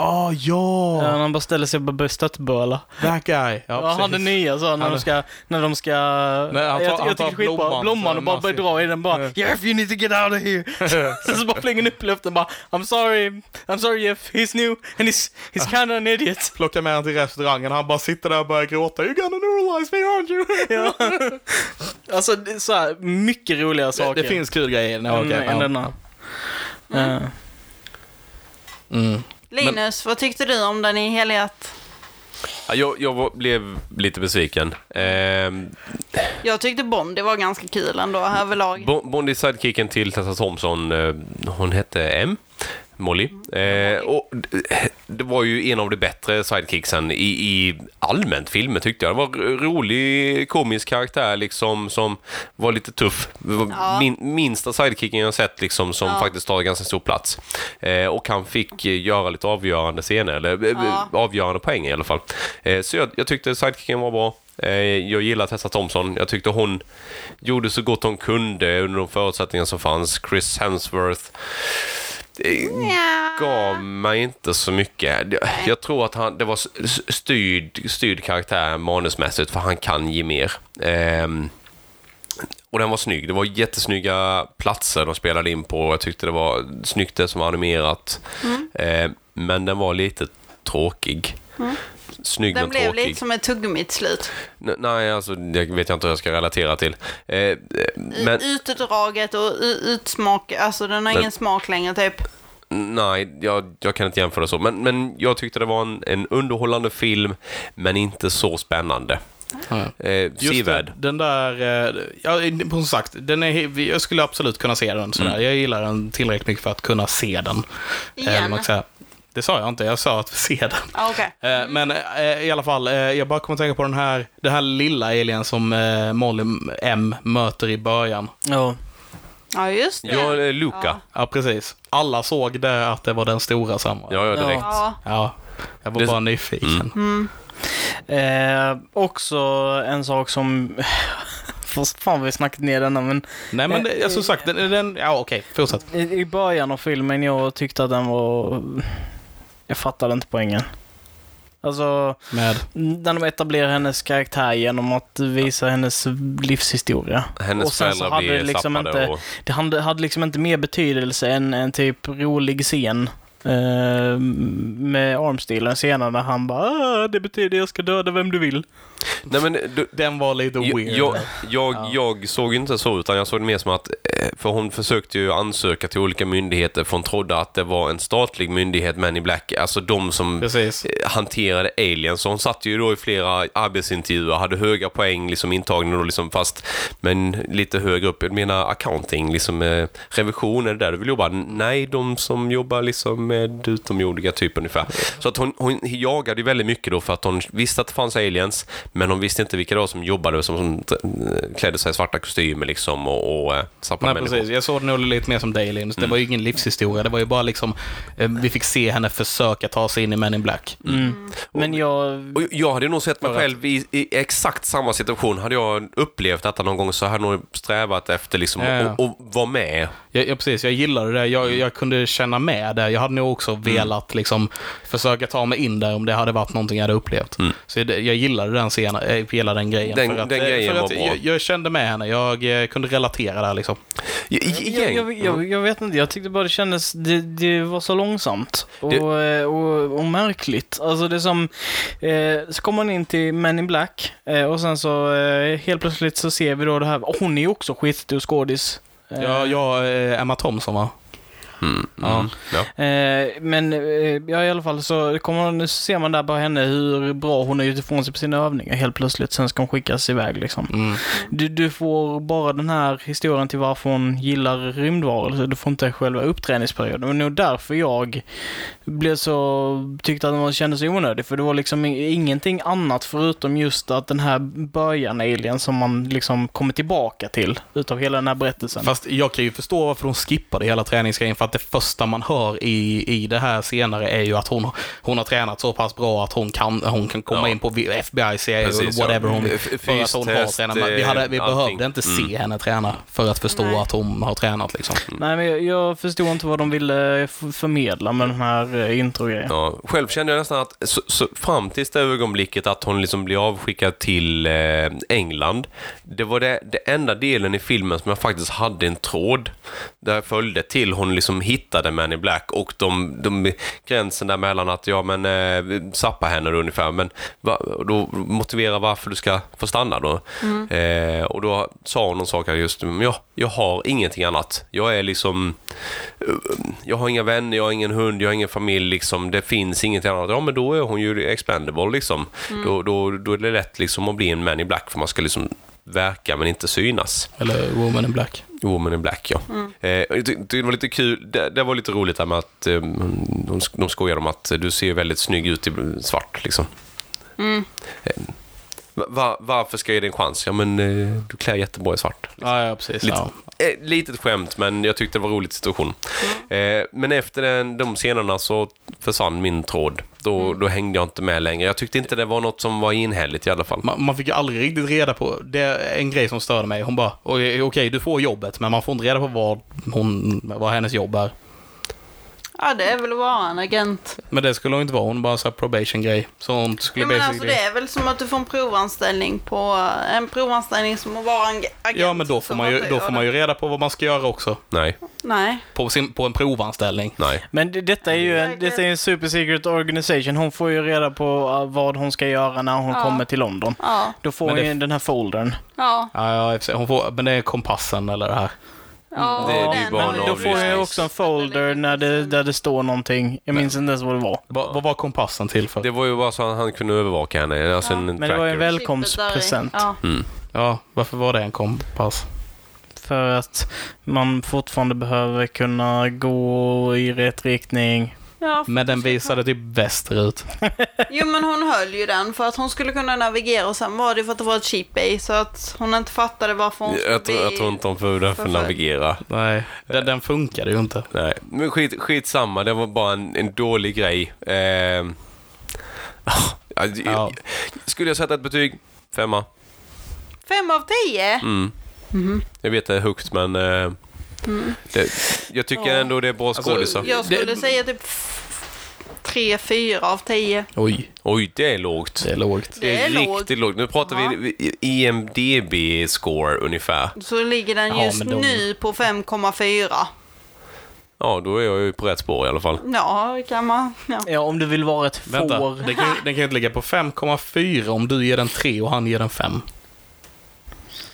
[SPEAKER 1] Ah, ja!
[SPEAKER 2] Eh, Han bara ställer sig och bara börjar stöttböla.
[SPEAKER 1] That guy. Ja,
[SPEAKER 2] Ja, han är
[SPEAKER 1] precis.
[SPEAKER 2] nya så när
[SPEAKER 1] Han-
[SPEAKER 2] de ska... När de ska
[SPEAKER 1] Nej, han tar-
[SPEAKER 2] jag,
[SPEAKER 1] han
[SPEAKER 2] jag
[SPEAKER 1] tar
[SPEAKER 2] tycker det är skitbra.
[SPEAKER 1] blomman,
[SPEAKER 2] Blomman
[SPEAKER 1] så
[SPEAKER 2] och bara börjar
[SPEAKER 1] massiv.
[SPEAKER 2] dra i den bara
[SPEAKER 1] Ja.
[SPEAKER 2] Jeff you need to get out of here. Sen så bara flänger han upp i luften bara I'm sorry, I'm sorry Jeff, he's new and he's, he's kinda an idiot.
[SPEAKER 1] Plockar med honom till restaurangen. Han bara sitter där och börjar gråta. You're gonna neuralize me, aren't you?
[SPEAKER 2] Ja. alltså, det är så här, mycket roliga
[SPEAKER 1] Det,
[SPEAKER 2] saker.
[SPEAKER 1] det finns kul grejer.
[SPEAKER 2] än,
[SPEAKER 1] Ja, okej,
[SPEAKER 2] än
[SPEAKER 4] Mm,
[SPEAKER 1] ja.
[SPEAKER 2] denna. Eh,
[SPEAKER 1] Mm.
[SPEAKER 3] Linus, vad tyckte du om den i helhet?
[SPEAKER 4] Ja, Jag, jag var, blev lite besviken. Ehm,
[SPEAKER 3] Jag tyckte Bondi var ganska kul ändå överlag.
[SPEAKER 4] Bo- Bondi sidekicken till Tessa Thompson, eh, hon hette M. Molly. Eh, och d- det var ju en av de bättre sidekicksen i, i allmänt filmen tyckte jag. Det var en rolig, komisk karaktär liksom som var lite tuff. Det var
[SPEAKER 3] Ja.
[SPEAKER 4] Min, minsta sidekicken jag sett liksom som faktiskt tar ganska stor plats. Eh, och han fick eh, göra lite avgörande scener, eller eh,
[SPEAKER 3] Ja.
[SPEAKER 4] avgörande poäng i alla fall. Eh, så jag, jag tyckte sidekicken var bra. Eh, jag gillar Tessa Thompson. Jag tyckte hon gjorde så gott hon kunde under de förutsättningar som fanns. Chris Hemsworth eh, gav mig inte så mycket. Jag- Jag tror att han, det var s- s- styrd, styrd karaktär manusmässigt, för han kan ge mer. Ehm, och den var snygg. Det var jättesnygga platser de spelade in på. Jag tyckte det var snyggt det som var animerat.
[SPEAKER 3] Mm.
[SPEAKER 4] Eh, men den var lite tråkig. Snygg
[SPEAKER 3] Mm. Den
[SPEAKER 4] men
[SPEAKER 3] blev
[SPEAKER 4] tråkig.
[SPEAKER 3] lite som ett tuggummit slut.
[SPEAKER 4] N- Nej, alltså det vet jag inte hur jag ska relatera till. Eh, eh, men,
[SPEAKER 3] Utdraget och u- utsmak, alltså den har
[SPEAKER 4] Den-
[SPEAKER 3] ingen smak längre typ.
[SPEAKER 4] Nej, jag, jag kan inte jämföra så. Men, men jag tyckte det var en, en underhållande film, men inte så spännande. Eh,
[SPEAKER 1] Just
[SPEAKER 4] Sevärd.
[SPEAKER 1] det, den där, eh, ja, som sagt, den är, jag skulle absolut kunna se den
[SPEAKER 4] Mm.
[SPEAKER 1] sådär. Jag gillar den tillräckligt mycket för att kunna se den.
[SPEAKER 3] Igen.
[SPEAKER 1] Eh, man kan säga. det sa jag inte, jag sa att se den.
[SPEAKER 3] Ah, okej.
[SPEAKER 1] Eh, Men eh, i alla fall, eh, jag bara kommer att tänka på den här, den här lilla alien som eh, Molly M möter i början.
[SPEAKER 2] Ja.
[SPEAKER 3] Ja, just det.
[SPEAKER 4] Ja, eh, Luca.
[SPEAKER 1] Ja, precis. Alla såg det att det var den stora samma.
[SPEAKER 4] Ja, ja, direkt.
[SPEAKER 3] Ja.
[SPEAKER 1] Ja, jag var
[SPEAKER 4] Det- Mm.
[SPEAKER 1] bara nyfiken.
[SPEAKER 2] Eh, också en sak som... Fast fan vad vi snackat ner denna, men
[SPEAKER 1] Nej, men det, jag som sagt, den, den ja okej, fortsätt.
[SPEAKER 2] i, i början av filmen jag tyckte att den var... Jag fattade inte poängen. Alltså,
[SPEAKER 1] Med,
[SPEAKER 2] när de etablerar hennes karaktär genom att visa hennes livshistoria.
[SPEAKER 4] Hennes föräldrar blir
[SPEAKER 1] liksom
[SPEAKER 4] zappade
[SPEAKER 2] inte,
[SPEAKER 4] och...
[SPEAKER 2] Det hade, hade liksom inte mer betydelse än en typ rolig scen eh, med armstilen senare när han bara "Ah, det betyder jag ska döda vem du vill.
[SPEAKER 4] Nej, men du,
[SPEAKER 1] den var lite
[SPEAKER 4] jag,
[SPEAKER 1] weird.
[SPEAKER 4] jag, jag, jag såg ju inte så, utan jag såg det mer som att... eh, För hon försökte ju ansöka till olika myndigheter, för hon trodde att det var en statlig myndighet, Men i Black, alltså de som...
[SPEAKER 1] Precis.
[SPEAKER 4] eh, hanterade aliens. Så hon satt ju då i flera arbetsintervjuer, hade höga poäng, liksom intagning då liksom fast, men lite högre upp. Jag menar accounting, liksom eh, revision, är det där du vill jobba? Nej, de som jobbar liksom med utomjordiga typ ungefär. Så att hon, hon jagade ju väldigt mycket då för att hon visste att det fanns aliens, men hon visste inte vilka det var som jobbade, som, som eh, klädde sig i svarta kostymer liksom och, och eh, zappade
[SPEAKER 1] Nej,
[SPEAKER 4] människor.
[SPEAKER 1] precis. Jag såg den nog lite mer som dig, Linus. Det var ju ingen livshistoria. Det var ju bara liksom, eh, vi fick se henne försöka ta sig in i Men in Black.
[SPEAKER 2] Men jag...
[SPEAKER 4] Och jag hade nog sett mig själv i, i exakt samma situation. Hade jag upplevt detta någon gång så hade jag nog strävat efter liksom
[SPEAKER 1] Ja, ja.
[SPEAKER 4] och, och vara med.
[SPEAKER 1] Ja, ja, precis. Jag gillade det. Jag, jag kunde känna med det. Jag hade nog också velat liksom, försöka ta mig in där om det hade varit någonting jag hade upplevt. Så det, jag gillade den scenen, eh, hela den grejen.
[SPEAKER 4] Den-
[SPEAKER 1] för att,
[SPEAKER 4] den
[SPEAKER 1] eh,
[SPEAKER 4] grejen
[SPEAKER 1] för
[SPEAKER 4] var
[SPEAKER 1] att
[SPEAKER 4] bra.
[SPEAKER 1] jag, jag kände med henne. Jag eh, kunde relatera där liksom.
[SPEAKER 4] I, i,
[SPEAKER 2] Jag,
[SPEAKER 4] igen.
[SPEAKER 2] jag, jag, jag vet inte, jag tyckte bara det kändes, det, det var så långsamt och,
[SPEAKER 4] Det-
[SPEAKER 2] eh, och, och märkligt. Alltså det är som, eh, så kommer man in till Men in Black eh, och sen så eh, helt plötsligt så ser vi då det här, hon är ju också skitstor skådis. Eh,
[SPEAKER 1] Jag, jag eh, Emma Thompson va?
[SPEAKER 4] Ja. Mm. Ja.
[SPEAKER 2] Eh, men eh, ja, i alla fall så kommer hon, så ser man där bara henne hur bra hon är utifrån sig på sina övningar helt plötsligt. Sen ska hon skickas iväg liksom.
[SPEAKER 1] Mm.
[SPEAKER 2] Du, du får bara den här historien till varför hon gillar rymdvarelser. Du får inte själva uppträningsperioden. Det var nog därför jag blev så, tyckte att den var- kändes onödig. För det var liksom i- ingenting annat förutom just att den här början alien som man liksom kommer tillbaka till utav hela den här berättelsen.
[SPEAKER 1] Fast jag kan ju förstå varför hon skippade hela träningsgrejen. För att det första man hör i, i det här senare är ju att hon, hon har tränat så pass bra att hon kan, hon kan komma
[SPEAKER 4] Ja.
[SPEAKER 1] in på vi- FBI, CIA
[SPEAKER 4] Precis,
[SPEAKER 1] och Eh, whatever
[SPEAKER 4] ja. Eh,
[SPEAKER 1] hon
[SPEAKER 4] F-
[SPEAKER 1] För att hon har
[SPEAKER 4] fystest,
[SPEAKER 1] tränat. Men Vi, hade, vi
[SPEAKER 4] eh, allting.
[SPEAKER 1] behövde inte se henne träna för att förstå
[SPEAKER 3] Nej.
[SPEAKER 1] att hon har tränat liksom.
[SPEAKER 4] Mm.
[SPEAKER 2] Nej, men jag, jag förstod inte vad de ville f- förmedla med den här eh, introgrejen.
[SPEAKER 4] Ja. Själv kände jag nästan att så, så fram till det ögonblicket att hon liksom blir avskickad till eh, England, det var det, det enda delen i filmen som jag faktiskt hade en tråd där jag följde till hon liksom som hittade Man in Black och de, de gränsen där mellan att ja men eh, sappa henne då ungefär men va, då motivera varför du ska få stanna då. Eh, och då sa hon någon sak här just, men jag, jag har ingenting annat. Jag är liksom, eh, jag har inga vänner, jag har ingen hund, jag har ingen familj liksom. Det finns ingenting annat. Ja men då är hon ju expendable liksom. Då, då, då är det lätt liksom att bli en Man in Black för man ska liksom verka men inte synas.
[SPEAKER 1] Eller Woman in Black.
[SPEAKER 4] Woman in Black, ja. Eh, jag tyckte det var lite kul, det, det var lite roligt där med att eh, de, sk- de skojar om att eh, du ser väldigt snygg ut i svart. Liksom. Eh, va, varför ska jag ge dig en chans? Ja, men eh, du klär jättebra i svart.
[SPEAKER 1] Ja, ja precis.
[SPEAKER 4] Liksom. Lite,
[SPEAKER 1] Ja.
[SPEAKER 4] eh, litet skämt, men jag tyckte det var en rolig situation.
[SPEAKER 2] Mm.
[SPEAKER 4] Eh, men efter den, de scenerna så försvann min tråd. Då,
[SPEAKER 2] Mm.
[SPEAKER 4] då hängde jag inte med längre. Jag tyckte inte det var något som var enhälligt i alla fall.
[SPEAKER 1] Man, man fick ju aldrig riktigt reda på, det är en grej som störde mig. Hon bara, okej, okej, du får jobbet, men man får inte reda på vad, hon, vad hennes jobb är.
[SPEAKER 3] Ja, det är väl att vara en agent.
[SPEAKER 1] Men det skulle hon inte vara, hon bara sa probation-grej. Så hon skulle
[SPEAKER 3] Ja, men
[SPEAKER 1] basically-
[SPEAKER 3] alltså, det är väl som att du får en provanställning på en provanställning som att vara en agent.
[SPEAKER 1] Ja, men då får,
[SPEAKER 3] som
[SPEAKER 1] man ju,
[SPEAKER 3] att-
[SPEAKER 1] då får man ju reda på vad man ska göra också.
[SPEAKER 4] Nej,
[SPEAKER 3] Nej.
[SPEAKER 1] På, sin, på en provanställning.
[SPEAKER 4] nej.
[SPEAKER 2] Men det, detta är ju en, detta är en super secret organisation. Hon får ju reda på eh, vad hon ska göra när hon
[SPEAKER 3] Ja.
[SPEAKER 2] kommer till London.
[SPEAKER 3] Ja.
[SPEAKER 2] Då får
[SPEAKER 1] Men
[SPEAKER 2] hon
[SPEAKER 1] det-
[SPEAKER 2] ju den här foldern.
[SPEAKER 3] Ja.
[SPEAKER 1] Ja, ja, i och för sig. hon får, men det är kompassen eller det här.
[SPEAKER 3] ja
[SPEAKER 2] Mm.
[SPEAKER 4] Det är ju
[SPEAKER 3] den-
[SPEAKER 4] bara en
[SPEAKER 2] Men då får jag ju
[SPEAKER 4] avlyssnings-
[SPEAKER 2] också en folder när det, där det står någonting. Jag minns inte ens vad det var.
[SPEAKER 1] Vad, vad var kompassen till för?
[SPEAKER 4] Det var ju bara så att han kunde övervaka henne. Alltså en
[SPEAKER 2] Men det var ju
[SPEAKER 4] tracker. Mm.
[SPEAKER 2] väl- välkomstpresent.
[SPEAKER 3] Ja.
[SPEAKER 1] Ja, varför var det en kompass?
[SPEAKER 2] För att man fortfarande behöver kunna gå i rätt riktning.
[SPEAKER 3] Ja,
[SPEAKER 1] Men den visade typ västerut.
[SPEAKER 3] Jo men hon höll ju den för att hon skulle kunna navigera och sen var det för att det var ett cheap day så att hon inte fattade varför hon skulle
[SPEAKER 4] Jag tror, jag
[SPEAKER 3] bli-
[SPEAKER 4] tror inte de får det för att
[SPEAKER 3] Varför?
[SPEAKER 4] navigera.
[SPEAKER 1] Nej, den, den funkade ju inte.
[SPEAKER 4] Nej, men skit, skitsamma. Det var bara en, en dålig grej. Eh, ah, jag-
[SPEAKER 1] Ja.
[SPEAKER 4] Skulle jag sätta ett betyg? Femma.
[SPEAKER 3] Fem av tio?
[SPEAKER 4] Mm. Jag vet det är högt, men eh, det, jag tycker ändå det är
[SPEAKER 1] Alltså,
[SPEAKER 4] bra skådisar.
[SPEAKER 3] Jag skulle
[SPEAKER 1] Det-
[SPEAKER 3] säga typ tre, fyra av tio.
[SPEAKER 1] Oj,
[SPEAKER 4] Oj, det är lågt.
[SPEAKER 1] det är lågt.
[SPEAKER 3] Det är lågt.
[SPEAKER 4] riktigt lågt. Nu pratar
[SPEAKER 3] Ja.
[SPEAKER 4] vi IMDB-score ungefär.
[SPEAKER 3] Så ligger den
[SPEAKER 1] Ja,
[SPEAKER 3] just
[SPEAKER 1] men de-
[SPEAKER 3] nu på 5,4.
[SPEAKER 4] Ja, då är jag ju på rätt spår i alla fall.
[SPEAKER 3] Ja, det kan man. Ja.
[SPEAKER 2] Ja, om du vill vara ett
[SPEAKER 1] Vänta,
[SPEAKER 2] får.
[SPEAKER 1] den kan, den kan ju inte ligga på 5,4 om du ger den 3 och han ger den 5.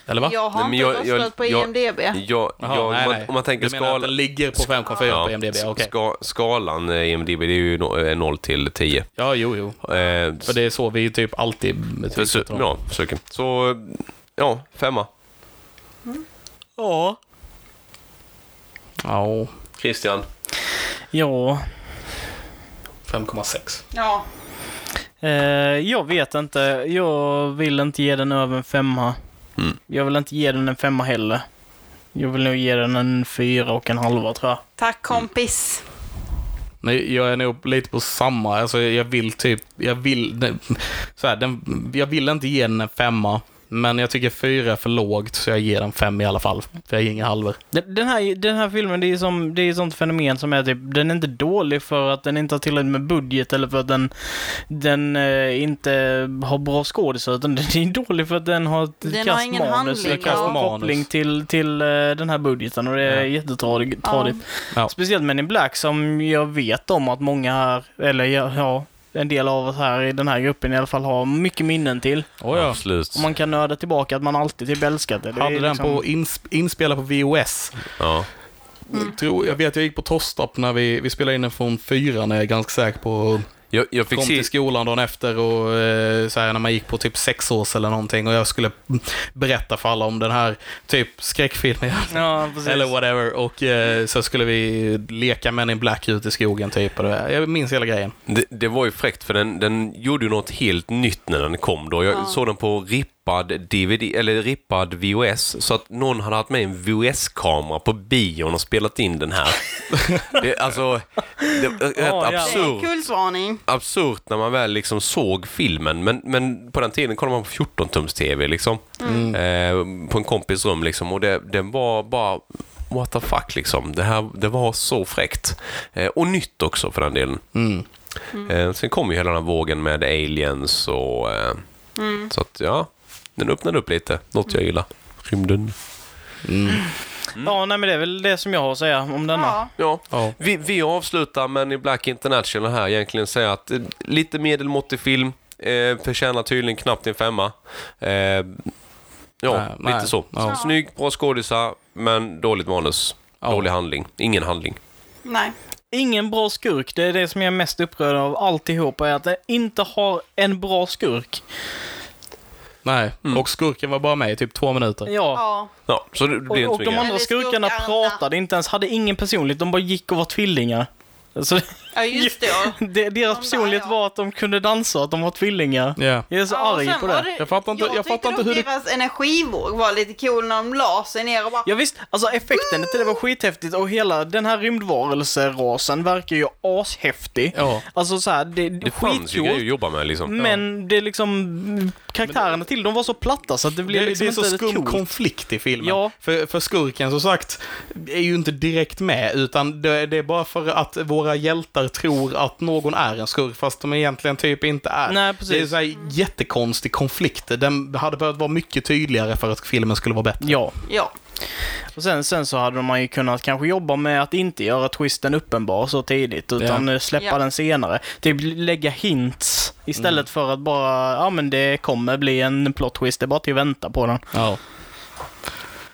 [SPEAKER 1] Eller va?
[SPEAKER 3] Jag har
[SPEAKER 4] Nej, men
[SPEAKER 3] inte
[SPEAKER 4] jag-
[SPEAKER 3] röstat
[SPEAKER 4] jag-
[SPEAKER 3] på
[SPEAKER 4] jag-
[SPEAKER 3] IMDB.
[SPEAKER 4] Jag,
[SPEAKER 1] Jaha,
[SPEAKER 4] jag,
[SPEAKER 1] nej,
[SPEAKER 4] om,
[SPEAKER 1] nej.
[SPEAKER 4] man, om man tänker
[SPEAKER 1] du menar att
[SPEAKER 4] skala...
[SPEAKER 1] den ligger på 5,4 på IMDB?
[SPEAKER 4] sk-
[SPEAKER 1] Okej.
[SPEAKER 4] ska, skalan eh, IMDB det är ju no- eh, 0 till 10. Eh,
[SPEAKER 1] Ja, jo, jo. För det är så vi typ alltid
[SPEAKER 4] försö-
[SPEAKER 1] betygsätter dem.
[SPEAKER 4] ja, försöker. Så, eh, ja, femma.
[SPEAKER 2] Ja.
[SPEAKER 1] Ja,
[SPEAKER 4] Christian.
[SPEAKER 2] Ja.
[SPEAKER 1] 5,6.
[SPEAKER 3] Ja.
[SPEAKER 2] Eh, jag vet inte. Jag vill inte ge den över en femma.
[SPEAKER 4] Mm.
[SPEAKER 2] Jag vill inte ge den en femma heller. Jag vill nog ge den en fyra och en halva tror jag.
[SPEAKER 3] Tack kompis.
[SPEAKER 1] Nej, jag är nog lite på samma. Alltså, jag vill typ... Jag vill... nej, Så här, den, jag vill inte ge den en femma. Men jag tycker fyra är för lågt, så jag ger den fem i alla fall. För jag ger inga halvor.
[SPEAKER 2] Den- Den här, den här filmen, det är, som, det är ett sånt fenomen som är typ, den är inte dålig för att den inte har tillräckligt med budget eller för att den, den eh, inte har bra skådisar, utan den är dålig för att den har ett
[SPEAKER 3] Den har
[SPEAKER 2] kasst
[SPEAKER 3] ingen
[SPEAKER 2] manus.
[SPEAKER 3] handling,
[SPEAKER 2] och kasst
[SPEAKER 1] ja.
[SPEAKER 2] koppling till, till eh, den här budgeten och det är
[SPEAKER 1] Ja.
[SPEAKER 2] jättetradigt.
[SPEAKER 3] Ja.
[SPEAKER 2] tradigt.
[SPEAKER 1] Ja.
[SPEAKER 2] Speciellt Men in Black som jag vet om att många här, eller ja, ja en del av oss här i den här gruppen i alla fall har mycket minnen till.
[SPEAKER 1] Oh, ja.
[SPEAKER 4] Absolut.
[SPEAKER 2] Och man kan nörda tillbaka att man alltid typ älskat det. det
[SPEAKER 1] Hade
[SPEAKER 2] är
[SPEAKER 1] den
[SPEAKER 2] liksom-
[SPEAKER 1] på insp- inspelad på VOS.
[SPEAKER 4] Ja.
[SPEAKER 1] Tror, jag vet, jag gick på Tostarp när vi, vi spelade in den från fyran, är jag ganska säker på.
[SPEAKER 4] Jag, jag fick
[SPEAKER 1] Kom
[SPEAKER 4] se...
[SPEAKER 1] till skolan dagen efter och eh, så här, när man gick på typ sex års eller någonting och jag skulle berätta för alla om den här typ skräckfilmen
[SPEAKER 2] Ja, precis.
[SPEAKER 1] eller whatever och eh, så skulle vi leka Men in Black ute i skogen typ. Och det, jag minns hela grejen.
[SPEAKER 4] Det, det var ju fräckt för den, den gjorde ju något helt nytt när den kom då. Jag såg den på rippad DVD, eller rippad VHS, så att någon hade haft med en VHS-kamera på bion och spelat in den här. det, alltså, det var rätt
[SPEAKER 2] Ja, ja.
[SPEAKER 3] Det är
[SPEAKER 4] absurt.
[SPEAKER 3] kulsvarning.
[SPEAKER 4] Absurt när man väl liksom såg filmen, men, men på den tiden kollade man på 14-tums-tv liksom. Eh, på en kompis rum liksom och det, den var bara what the fuck liksom. Det, här, det var så fräckt. Eh, och nytt också för den delen. Eh, sen kom ju hela den här vågen med aliens och... Eh, Så att ja, den öppnade upp lite. Något jag gillar. Rymden.
[SPEAKER 2] Ja, nej men det är väl det som jag har att säga om denna.
[SPEAKER 3] Ja.
[SPEAKER 4] Ja.
[SPEAKER 1] Ja.
[SPEAKER 4] Vi, vi avslutar Men in Black International här egentligen säga att eh, lite medelmåttig film, eh, förtjänar tydligen knappt en femma. Eh, ja, lite
[SPEAKER 1] nej.
[SPEAKER 4] så.
[SPEAKER 1] Ja.
[SPEAKER 4] Snygg, bra skådisar, men dåligt manus.
[SPEAKER 1] Ja.
[SPEAKER 4] Dålig handling. Ingen handling.
[SPEAKER 3] Nej.
[SPEAKER 2] Ingen bra skurk, det är det som jag är mest upprörd av alltihop, är att jag inte har en bra skurk.
[SPEAKER 1] Nej, och skurken var bara med i typ två minuter.
[SPEAKER 2] Mm. Ja.
[SPEAKER 3] Ja.
[SPEAKER 4] Ja, så det det
[SPEAKER 2] Och,
[SPEAKER 4] blir
[SPEAKER 2] och
[SPEAKER 4] inte
[SPEAKER 2] de
[SPEAKER 4] mycket.
[SPEAKER 2] andra
[SPEAKER 3] Eller
[SPEAKER 2] skurkarna
[SPEAKER 3] skurkarna.
[SPEAKER 2] pratade inte ens, hade ingen personlighet, de bara gick och var tvillingar. Så
[SPEAKER 3] ja, just det. Ja.
[SPEAKER 2] det, deras
[SPEAKER 3] där,
[SPEAKER 2] personlighet
[SPEAKER 3] ja.
[SPEAKER 2] var att de kunde dansa, att de var tvillingar.
[SPEAKER 1] Ja.
[SPEAKER 2] Jag är så
[SPEAKER 3] Ja, och
[SPEAKER 2] arg
[SPEAKER 3] sen
[SPEAKER 2] på
[SPEAKER 3] var
[SPEAKER 2] det.
[SPEAKER 1] Jag fattar inte- jag
[SPEAKER 3] tyckte
[SPEAKER 1] fattar inte
[SPEAKER 3] dock
[SPEAKER 1] hur det-
[SPEAKER 3] deras energivåg var lite cool när de la sig ner och bara...
[SPEAKER 2] Ja, visst, alltså effekten till det var skithäftigt och hela den här rymdvarelserasen verkar ju ashäftig.
[SPEAKER 1] Ja.
[SPEAKER 2] Alltså så här, det, det
[SPEAKER 4] Det
[SPEAKER 2] är
[SPEAKER 4] fanns ju grejer att
[SPEAKER 2] skitcoolt.
[SPEAKER 4] jobba med liksom.
[SPEAKER 2] Men det är liksom, kärna till dem var så platta så att det blev
[SPEAKER 1] Det,
[SPEAKER 2] liksom
[SPEAKER 1] det är så
[SPEAKER 2] inte
[SPEAKER 1] skum
[SPEAKER 2] coolt.
[SPEAKER 1] konflikt i filmen.
[SPEAKER 2] Ja.
[SPEAKER 1] För, för skurken, som sagt, är ju inte direkt med, utan det, det är bara för att våra hjältar tror att någon är en skurk, fast de egentligen typ inte är.
[SPEAKER 2] Nej, precis.
[SPEAKER 1] Det är en sån här jättekonstig konflikt. Den hade behövt vara mycket tydligare för att filmen skulle vara bättre.
[SPEAKER 2] Ja,
[SPEAKER 3] Ja.
[SPEAKER 2] och sen, sen så hade man ju kunnat kanske jobba med att inte göra twisten uppenbar så tidigt utan eh, släppa
[SPEAKER 3] Ja.
[SPEAKER 2] den senare. Typ lägga hints istället för att bara, ja men det kommer bli en plot twist, det är bara till att vänta på den.
[SPEAKER 1] Ja.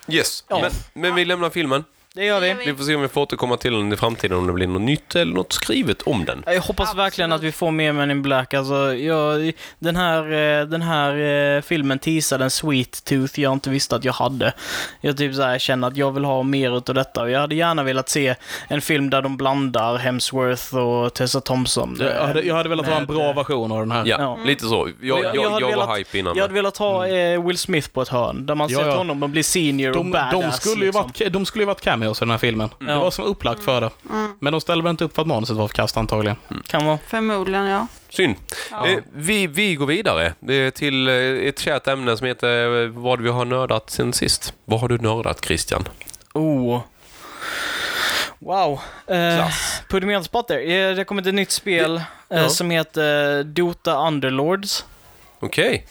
[SPEAKER 4] Yes.
[SPEAKER 2] Ja.
[SPEAKER 4] Men, men vi lämnar filmen.
[SPEAKER 2] Det gör vi.
[SPEAKER 3] Det gör
[SPEAKER 4] Vi får se om vi får återkomma till den i framtiden om det blir något nytt eller något skrivet om den.
[SPEAKER 2] Jag hoppas
[SPEAKER 3] Absolut.
[SPEAKER 2] verkligen att vi får mer Men in Black. Alltså, jag, den, här, eh, den här eh, filmen teasade en sweet tooth jag inte visste att jag hade. Jag typ så här känner att jag vill ha mer utav detta. Och Jag hade gärna velat se en film där de blandar Hemsworth och Tessa Thompson.
[SPEAKER 1] Jag hade, jag hade velat ha en bra version av den här.
[SPEAKER 4] Ja,
[SPEAKER 2] Ja.
[SPEAKER 4] lite så. Jag,
[SPEAKER 2] Och jag-
[SPEAKER 4] jag, jag,
[SPEAKER 2] jag hade
[SPEAKER 4] var
[SPEAKER 2] velat-
[SPEAKER 4] hype innan.
[SPEAKER 2] Jag hade velat ha eh, Will Smith på ett hörn, där man
[SPEAKER 1] Mm. Ja,
[SPEAKER 2] ser
[SPEAKER 1] ja.
[SPEAKER 2] honom och blir senior och
[SPEAKER 1] De,
[SPEAKER 2] badass.
[SPEAKER 1] de, skulle ju
[SPEAKER 2] liksom.
[SPEAKER 1] varit, de skulle ju varit cameos i den här filmen. Det
[SPEAKER 2] Ja.
[SPEAKER 1] var som upplagt för det.
[SPEAKER 2] Mm.
[SPEAKER 1] Men de ställde väl inte upp för att manuset var förkastat antagligen.
[SPEAKER 2] Kan vara.
[SPEAKER 3] Förmodligen, ja.
[SPEAKER 4] Synd. Eh, vi, vi går vidare eh, till eh, ett kärt ämne som heter eh, vad vi har nördat sen sist. Vad har du nördat Christian?
[SPEAKER 2] Oh. Wow. Eh,
[SPEAKER 4] Klass.
[SPEAKER 2] Put me on the spot there. Eh, Det har kommit ett nytt spel eh,
[SPEAKER 4] ja.
[SPEAKER 2] som heter eh, Dota Underlords.
[SPEAKER 4] Okej.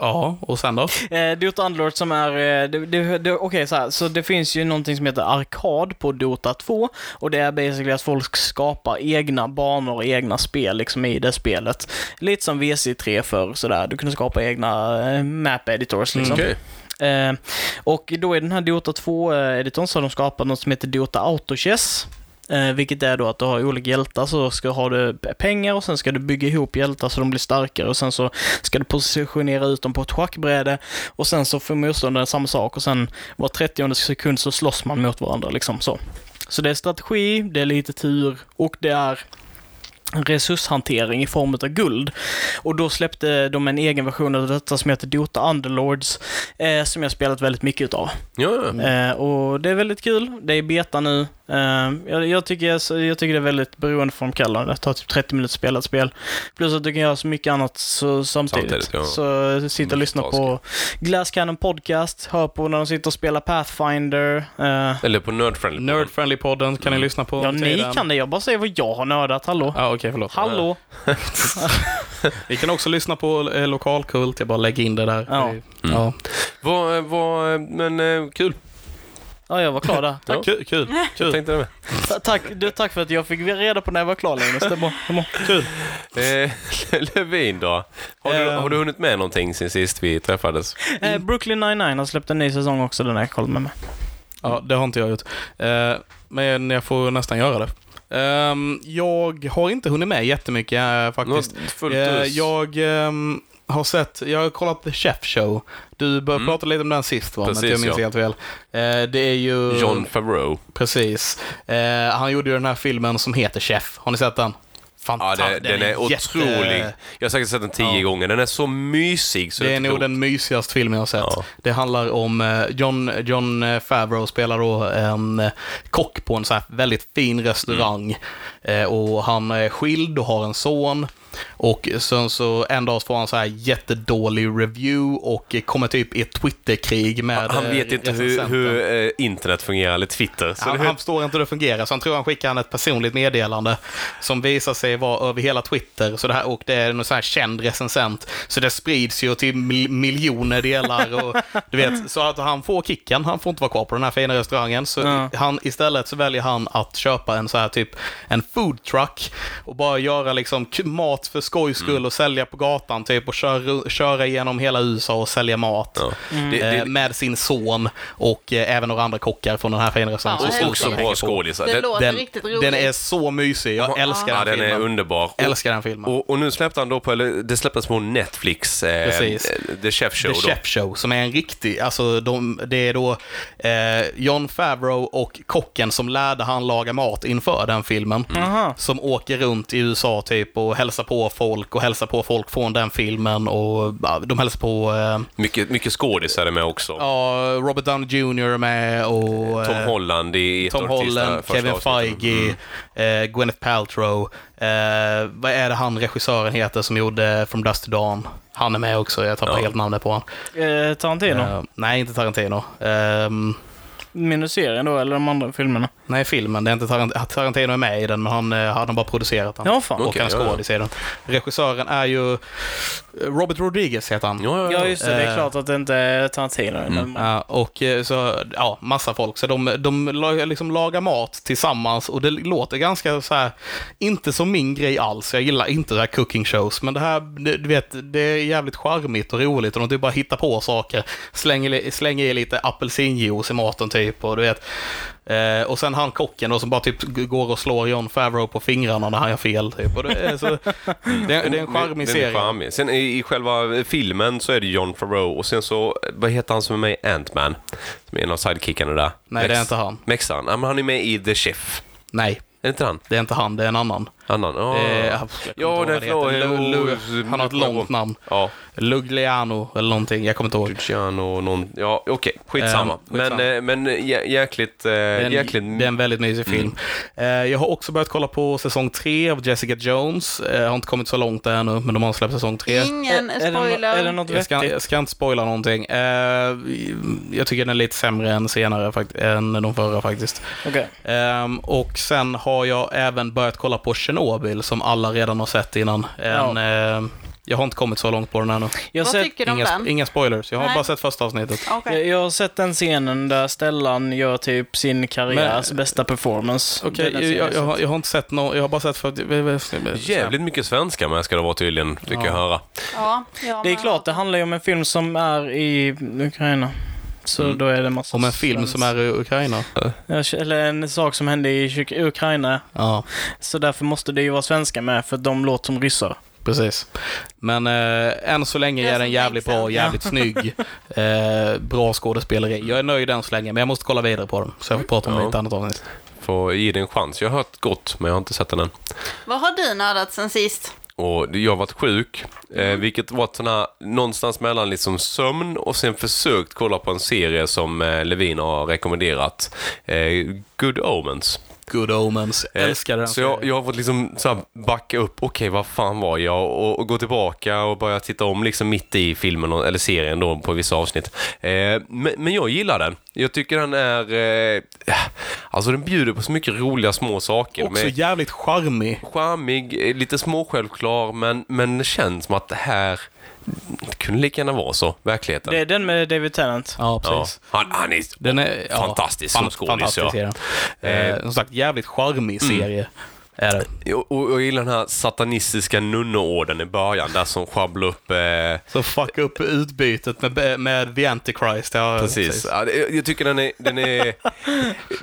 [SPEAKER 1] Ja, och sen då?
[SPEAKER 2] Eh, Dota Underlords som är... Eh, det, det, det, Okej, så här. Så det finns ju någonting som heter arkad på Dota 2 och det är basically att folk skapar egna banor och egna spel liksom i det spelet. Lite som VC3 för sådär. Du kunde skapa egna eh, map editors
[SPEAKER 1] Mm.
[SPEAKER 2] liksom.
[SPEAKER 4] Okej.
[SPEAKER 2] Eh, och då i den här Dota 2-editorn så har de skapat något som heter Dota Autochess. Eh, vilket är då att du har olika hjältar, så ska har du pengar och sen ska du bygga ihop hjältar så de blir starkare och sen så ska du positionera ut dem på ett schackbräde och sen så får motståndaren samma sak och sen var 30 sekund så slåss man mot varandra liksom så. Så det är strategi, det är lite tur och det är resurshantering i form av guld. Och då släppte de en egen version av detta som heter Dota Underlords, eh, som jag spelat väldigt mycket utav.
[SPEAKER 4] Ja, ja.
[SPEAKER 1] Mm.
[SPEAKER 2] Eh, och det är väldigt kul, det är beta nu. Eh, jag, jag, tycker, jag tycker det är väldigt beroende från kallar det tar typ 30 minuter spelat spel. Plus att du kan göra så mycket annat så, samtidigt.
[SPEAKER 4] Samtidigt, ja.
[SPEAKER 2] Så eh, sitta och lyssna på Glass Cannon Podcast, hör på när de sitter och spelar Pathfinder. Eh,
[SPEAKER 4] Eller på Nerdfriendly.
[SPEAKER 1] Nerdfriendly-podden kan ni lyssna på.
[SPEAKER 2] ja,
[SPEAKER 1] under
[SPEAKER 2] ni
[SPEAKER 1] tiden.
[SPEAKER 2] kan det, jag bara säger vad jag har nördat, hallå.
[SPEAKER 1] Ja, okej, förlåt.
[SPEAKER 2] Hallå!
[SPEAKER 1] Vi kan också lyssna på eh, Lokalkult. Jag bara lägger in det där.
[SPEAKER 2] Ja.
[SPEAKER 1] Ja.
[SPEAKER 4] Vad, eh, vad, men eh, kul.
[SPEAKER 2] Ja, jag var klar där.
[SPEAKER 1] Tack, kul, kul,
[SPEAKER 4] Jag
[SPEAKER 1] kul.
[SPEAKER 4] tänkte det med.
[SPEAKER 2] Ta- Tack, du, tack för att jag fick reda på när jag var klar Linus. Det är bra. Det är bra.
[SPEAKER 4] Eh, Levin då? Har du,
[SPEAKER 1] Eh.
[SPEAKER 4] har du hunnit med någonting sen sist vi träffades?
[SPEAKER 2] Eh, Brooklyn 99 har släppt en ny säsong också, den har jag kollat med mig.
[SPEAKER 1] Ja, det har inte jag gjort. Eh, Men jag får nästan göra det. Ehm, Jag har inte hunnit med jättemycket eh, faktiskt.
[SPEAKER 4] Något fullt
[SPEAKER 1] Eh,
[SPEAKER 4] ös?
[SPEAKER 1] Jag ehm, har sett, jag har kollat The Chef Show. Du bör-
[SPEAKER 4] Mm.
[SPEAKER 1] pratade lite om den sist va? Om
[SPEAKER 4] Precis,
[SPEAKER 1] inte jag minns
[SPEAKER 4] ja.
[SPEAKER 1] helt fel. Eh, Det är ju...
[SPEAKER 4] John Favreau.
[SPEAKER 1] Precis. Eh, Han gjorde ju den här filmen som heter Chef. Har ni sett den?
[SPEAKER 4] Ja,
[SPEAKER 1] Fantastisk.
[SPEAKER 4] det, den, är, otrolig. Jag har säkert sett den tio
[SPEAKER 1] Ja.
[SPEAKER 4] gånger. Den är så mysig så
[SPEAKER 1] Det är
[SPEAKER 4] inte
[SPEAKER 1] nog
[SPEAKER 4] klokt.
[SPEAKER 1] den mysigaste filmen jag har sett.
[SPEAKER 4] Ja.
[SPEAKER 1] Det handlar om eh, John, John eh, Favreau spelar då en eh, kock
[SPEAKER 4] Mm.
[SPEAKER 1] på en så här väldigt fin restaurang. Eh, Och han är skild och har en son. Och sen så en dag så får han så här jättedålig review och kommer typ i ett Twitterkrig med
[SPEAKER 4] Han vet
[SPEAKER 1] eh,
[SPEAKER 4] inte hur,
[SPEAKER 1] recensenten.
[SPEAKER 4] hur eh, internet fungerar eller Twitter. Så
[SPEAKER 1] Han,
[SPEAKER 4] det,
[SPEAKER 1] han förstår inte hur det fungerar, så han tror han skickar han ett personligt meddelande som visar sig vara över hela Twitter. Så det här, och det är en sån här känd recensent, så det sprids ju till mil miljoner delar. Och, du vet, så att han får kicken, han får inte vara kvar på den här fina restaurangen. Så
[SPEAKER 2] Ja.
[SPEAKER 1] han, istället så väljer han att köpa en så här typ en food truck och bara göra liksom k- mat för skojs
[SPEAKER 4] Mm.
[SPEAKER 1] skull och sälja på gatan typ och köra, köra genom hela USA och sälja mat.
[SPEAKER 4] ja. det, det,
[SPEAKER 1] eh, Med sin son och eh, även några andra kockar från den här fina restaurangen.
[SPEAKER 3] Ja,
[SPEAKER 1] som
[SPEAKER 4] och
[SPEAKER 3] det-
[SPEAKER 4] också
[SPEAKER 1] slutar
[SPEAKER 4] bra
[SPEAKER 1] hänga på.
[SPEAKER 4] skådisar.
[SPEAKER 3] Det
[SPEAKER 4] Den-
[SPEAKER 3] låter
[SPEAKER 1] Den,
[SPEAKER 3] riktigt roligt.
[SPEAKER 1] den är så mysig. Jag älskar
[SPEAKER 4] ja,
[SPEAKER 1] den
[SPEAKER 4] den
[SPEAKER 1] filmen.
[SPEAKER 4] är underbar. Och,
[SPEAKER 1] älskar den filmen.
[SPEAKER 4] och, och nu släppte han då på, eller det släpptes på Netflix, eh,
[SPEAKER 1] Precis.
[SPEAKER 4] eh, The Chef Show
[SPEAKER 1] The
[SPEAKER 4] då.
[SPEAKER 1] Chef Show, som är en riktig, alltså de, det är då eh, John Favreau och kocken som lärde han laga mat inför den filmen.
[SPEAKER 4] Mm.
[SPEAKER 2] Aha.
[SPEAKER 1] Som åker runt i USA typ och hälsar på folk och hälsar på folk från den filmen och ja, de hälsar på eh,
[SPEAKER 4] Mycket, mycket skådisar är med också.
[SPEAKER 1] ja, Robert Downey Jr är med och
[SPEAKER 4] Tom
[SPEAKER 1] eh,
[SPEAKER 4] Holland i ett
[SPEAKER 1] Tom
[SPEAKER 4] av de sista
[SPEAKER 1] Holland,
[SPEAKER 4] första Mm.
[SPEAKER 1] Kevin
[SPEAKER 4] avsnitten.
[SPEAKER 1] Feige, eh, Gwyneth Paltrow. Eh, vad är det han regissören heter som gjorde From Dust to Dawn? Han är med också, jag tappar
[SPEAKER 4] Ja.
[SPEAKER 1] helt namnet på honom.
[SPEAKER 2] Eh, Tarantino?
[SPEAKER 1] Eh, nej, inte Tarantino. Ehm,
[SPEAKER 2] Minus serien då, eller de andra filmerna?
[SPEAKER 1] nej, filmen. Det är inte Tarantino. Tarantino är med i den, men han, eh, han har bara producerat den.
[SPEAKER 2] Ja, fan.
[SPEAKER 1] Och
[SPEAKER 4] Okej,
[SPEAKER 1] han
[SPEAKER 4] ja, ja.
[SPEAKER 1] skådis i den. Regissören är ju eh, Robert Rodriguez, heter han.
[SPEAKER 4] Ja, ja, ja.
[SPEAKER 2] Ja, just det. Det är
[SPEAKER 1] Eh.
[SPEAKER 2] klart att det inte är Tarantino. Mm.
[SPEAKER 1] Ja, och eh, så, ja, massa folk. Så de, de la- liksom lagar mat tillsammans och det låter ganska så här, inte som min grej alls. Jag gillar inte det här cooking shows, men det här, det- du vet, det är jävligt charmigt och roligt och de typ bara hittar på saker. Slänger, li- slänger i lite apelsinjuice i maten typ och du vet. Eh, och sen han kocken då som bara typ g- går och slår John Favreau på fingrarna när han gör fel typ. Och det, är så, det, är- det är en charmig
[SPEAKER 4] Den är
[SPEAKER 1] serie.
[SPEAKER 4] charmig. Sen i, i själva filmen så är det John Farrow och sen så, vad heter han som är med i Ant-Man? Som är en av sidekickarna där.
[SPEAKER 1] Nej, det är inte han.
[SPEAKER 4] Mexan. Ja, men han är med i The Chef.
[SPEAKER 1] Nej,
[SPEAKER 4] Är det inte han?
[SPEAKER 1] det är inte han, det är en annan.
[SPEAKER 4] Annan? Ja,
[SPEAKER 1] Eh, jag
[SPEAKER 4] ja,
[SPEAKER 1] kommer inte ihåg vad det heter.
[SPEAKER 4] förlåt.
[SPEAKER 1] Lu- Lu- han har ett långt namn.
[SPEAKER 4] Ja,
[SPEAKER 1] Lugliano eller någonting, jag kommer inte ihåg.
[SPEAKER 4] Luciano någon... Ja, okej. Skitsamma.
[SPEAKER 1] Eh, skitsamma.
[SPEAKER 4] Men, eh, men jä- jäkligt... Eh,
[SPEAKER 1] Det är,
[SPEAKER 4] jäkligt...
[SPEAKER 1] en, det är en väldigt mysig film. Eh, Jag har också börjat kolla på säsong tre av Jessica Jones. Eh, Jag har inte kommit så långt ännu, men de har släppt säsong tre.
[SPEAKER 3] Ingen
[SPEAKER 2] är, det, no-
[SPEAKER 3] spoiler.
[SPEAKER 2] är det något
[SPEAKER 1] Jag ska,
[SPEAKER 2] vettigt?
[SPEAKER 1] jag ska inte spoila någonting. Eh, Jag tycker den är lite sämre än, senare, fakt- än de förra faktiskt.
[SPEAKER 2] Okej.
[SPEAKER 1] Ehm, och sen har jag även börjat kolla på Chernobyl som alla redan har sett innan. En,
[SPEAKER 2] Ja.
[SPEAKER 1] ehm, jag har inte kommit så långt på den ännu.
[SPEAKER 2] Jag har
[SPEAKER 3] Vad
[SPEAKER 2] sett-
[SPEAKER 3] tycker du om
[SPEAKER 1] Inga,
[SPEAKER 3] den?
[SPEAKER 1] inga spoilers, jag har
[SPEAKER 3] Nej.
[SPEAKER 1] bara sett första avsnittet.
[SPEAKER 3] Okej.
[SPEAKER 2] Jag, jag har sett den scenen där Stellan gör typ sin karriärs bästa performance.
[SPEAKER 1] Okej,
[SPEAKER 2] Den scenen.
[SPEAKER 1] jag, jag, har- jag har inte sett någon, jag har bara sett för
[SPEAKER 4] Jävligt mycket svenska med ska det vara tydligen, fick jag höra.
[SPEAKER 3] Ja, ja,
[SPEAKER 2] Det är
[SPEAKER 3] men-
[SPEAKER 2] klart, det handlar ju om en film som är i Ukraina. Så då är det massa
[SPEAKER 1] Mm. Om en film
[SPEAKER 2] svensk-
[SPEAKER 1] som är i Ukraina.
[SPEAKER 2] Ja, Eller en sak som hände i Uk- Ukraina.
[SPEAKER 1] Ja,
[SPEAKER 2] Så därför måste det ju vara svenska med, för de låter som ryssar.
[SPEAKER 1] precis. Men eh, än så länge
[SPEAKER 3] Det är
[SPEAKER 1] är den
[SPEAKER 3] som
[SPEAKER 1] jävligt
[SPEAKER 3] makes
[SPEAKER 1] bra,
[SPEAKER 3] sense.
[SPEAKER 1] jävligt snygg. Eh, bra skådespeleri. Jag är nöjd än så länge, men jag måste kolla vidare på den. Så jag får prata om det i ett
[SPEAKER 4] Ja.
[SPEAKER 1] annat avsnitt.
[SPEAKER 4] Får ge det en chans. Jag har hört gott, men jag har inte sett den än.
[SPEAKER 3] Vad har du nördat sen sist?
[SPEAKER 4] Och jag har varit sjuk,
[SPEAKER 1] Mm.
[SPEAKER 4] eh, vilket var sån här, någonstans mellan liksom sömn och sen försökt kolla på en serie som eh, Levin har rekommenderat. Eh, Good Omens.
[SPEAKER 1] Good Omens,
[SPEAKER 4] Eh,
[SPEAKER 1] älskar den.
[SPEAKER 4] Så jag, jag har fått liksom så här backa upp, okej vad fan var jag? Och, och gå tillbaka och börja titta om liksom mitt i filmen, och- eller serien då, på vissa avsnitt. Eh, men, men jag gillar den. Jag tycker den är... Eh, alltså den bjuder på så mycket roliga små saker.
[SPEAKER 1] Också
[SPEAKER 4] med-
[SPEAKER 1] jävligt charmig.
[SPEAKER 4] charmig, eh, lite småsjälvklar, men, men det känns som att det här det kunde lika gärna vara så, verkligheten.
[SPEAKER 2] Det är den med David Tennant.
[SPEAKER 1] Ja,
[SPEAKER 4] ja.
[SPEAKER 1] precis.
[SPEAKER 4] han, han är
[SPEAKER 1] Den är ja,
[SPEAKER 4] fantastisk som skådis.
[SPEAKER 1] Fantastisk
[SPEAKER 4] Ja. Mm.
[SPEAKER 1] serie. Eh, som sagt, jävligt charmig serie. Är det.
[SPEAKER 4] Och, och jag gillar den här satanistiska nunneorden i början, där som sjabblar upp... Eh,
[SPEAKER 1] Så fucka upp utbytet med, med The Antichrist. Ja,
[SPEAKER 4] Precis. Ja, det- jag tycker den är, den är...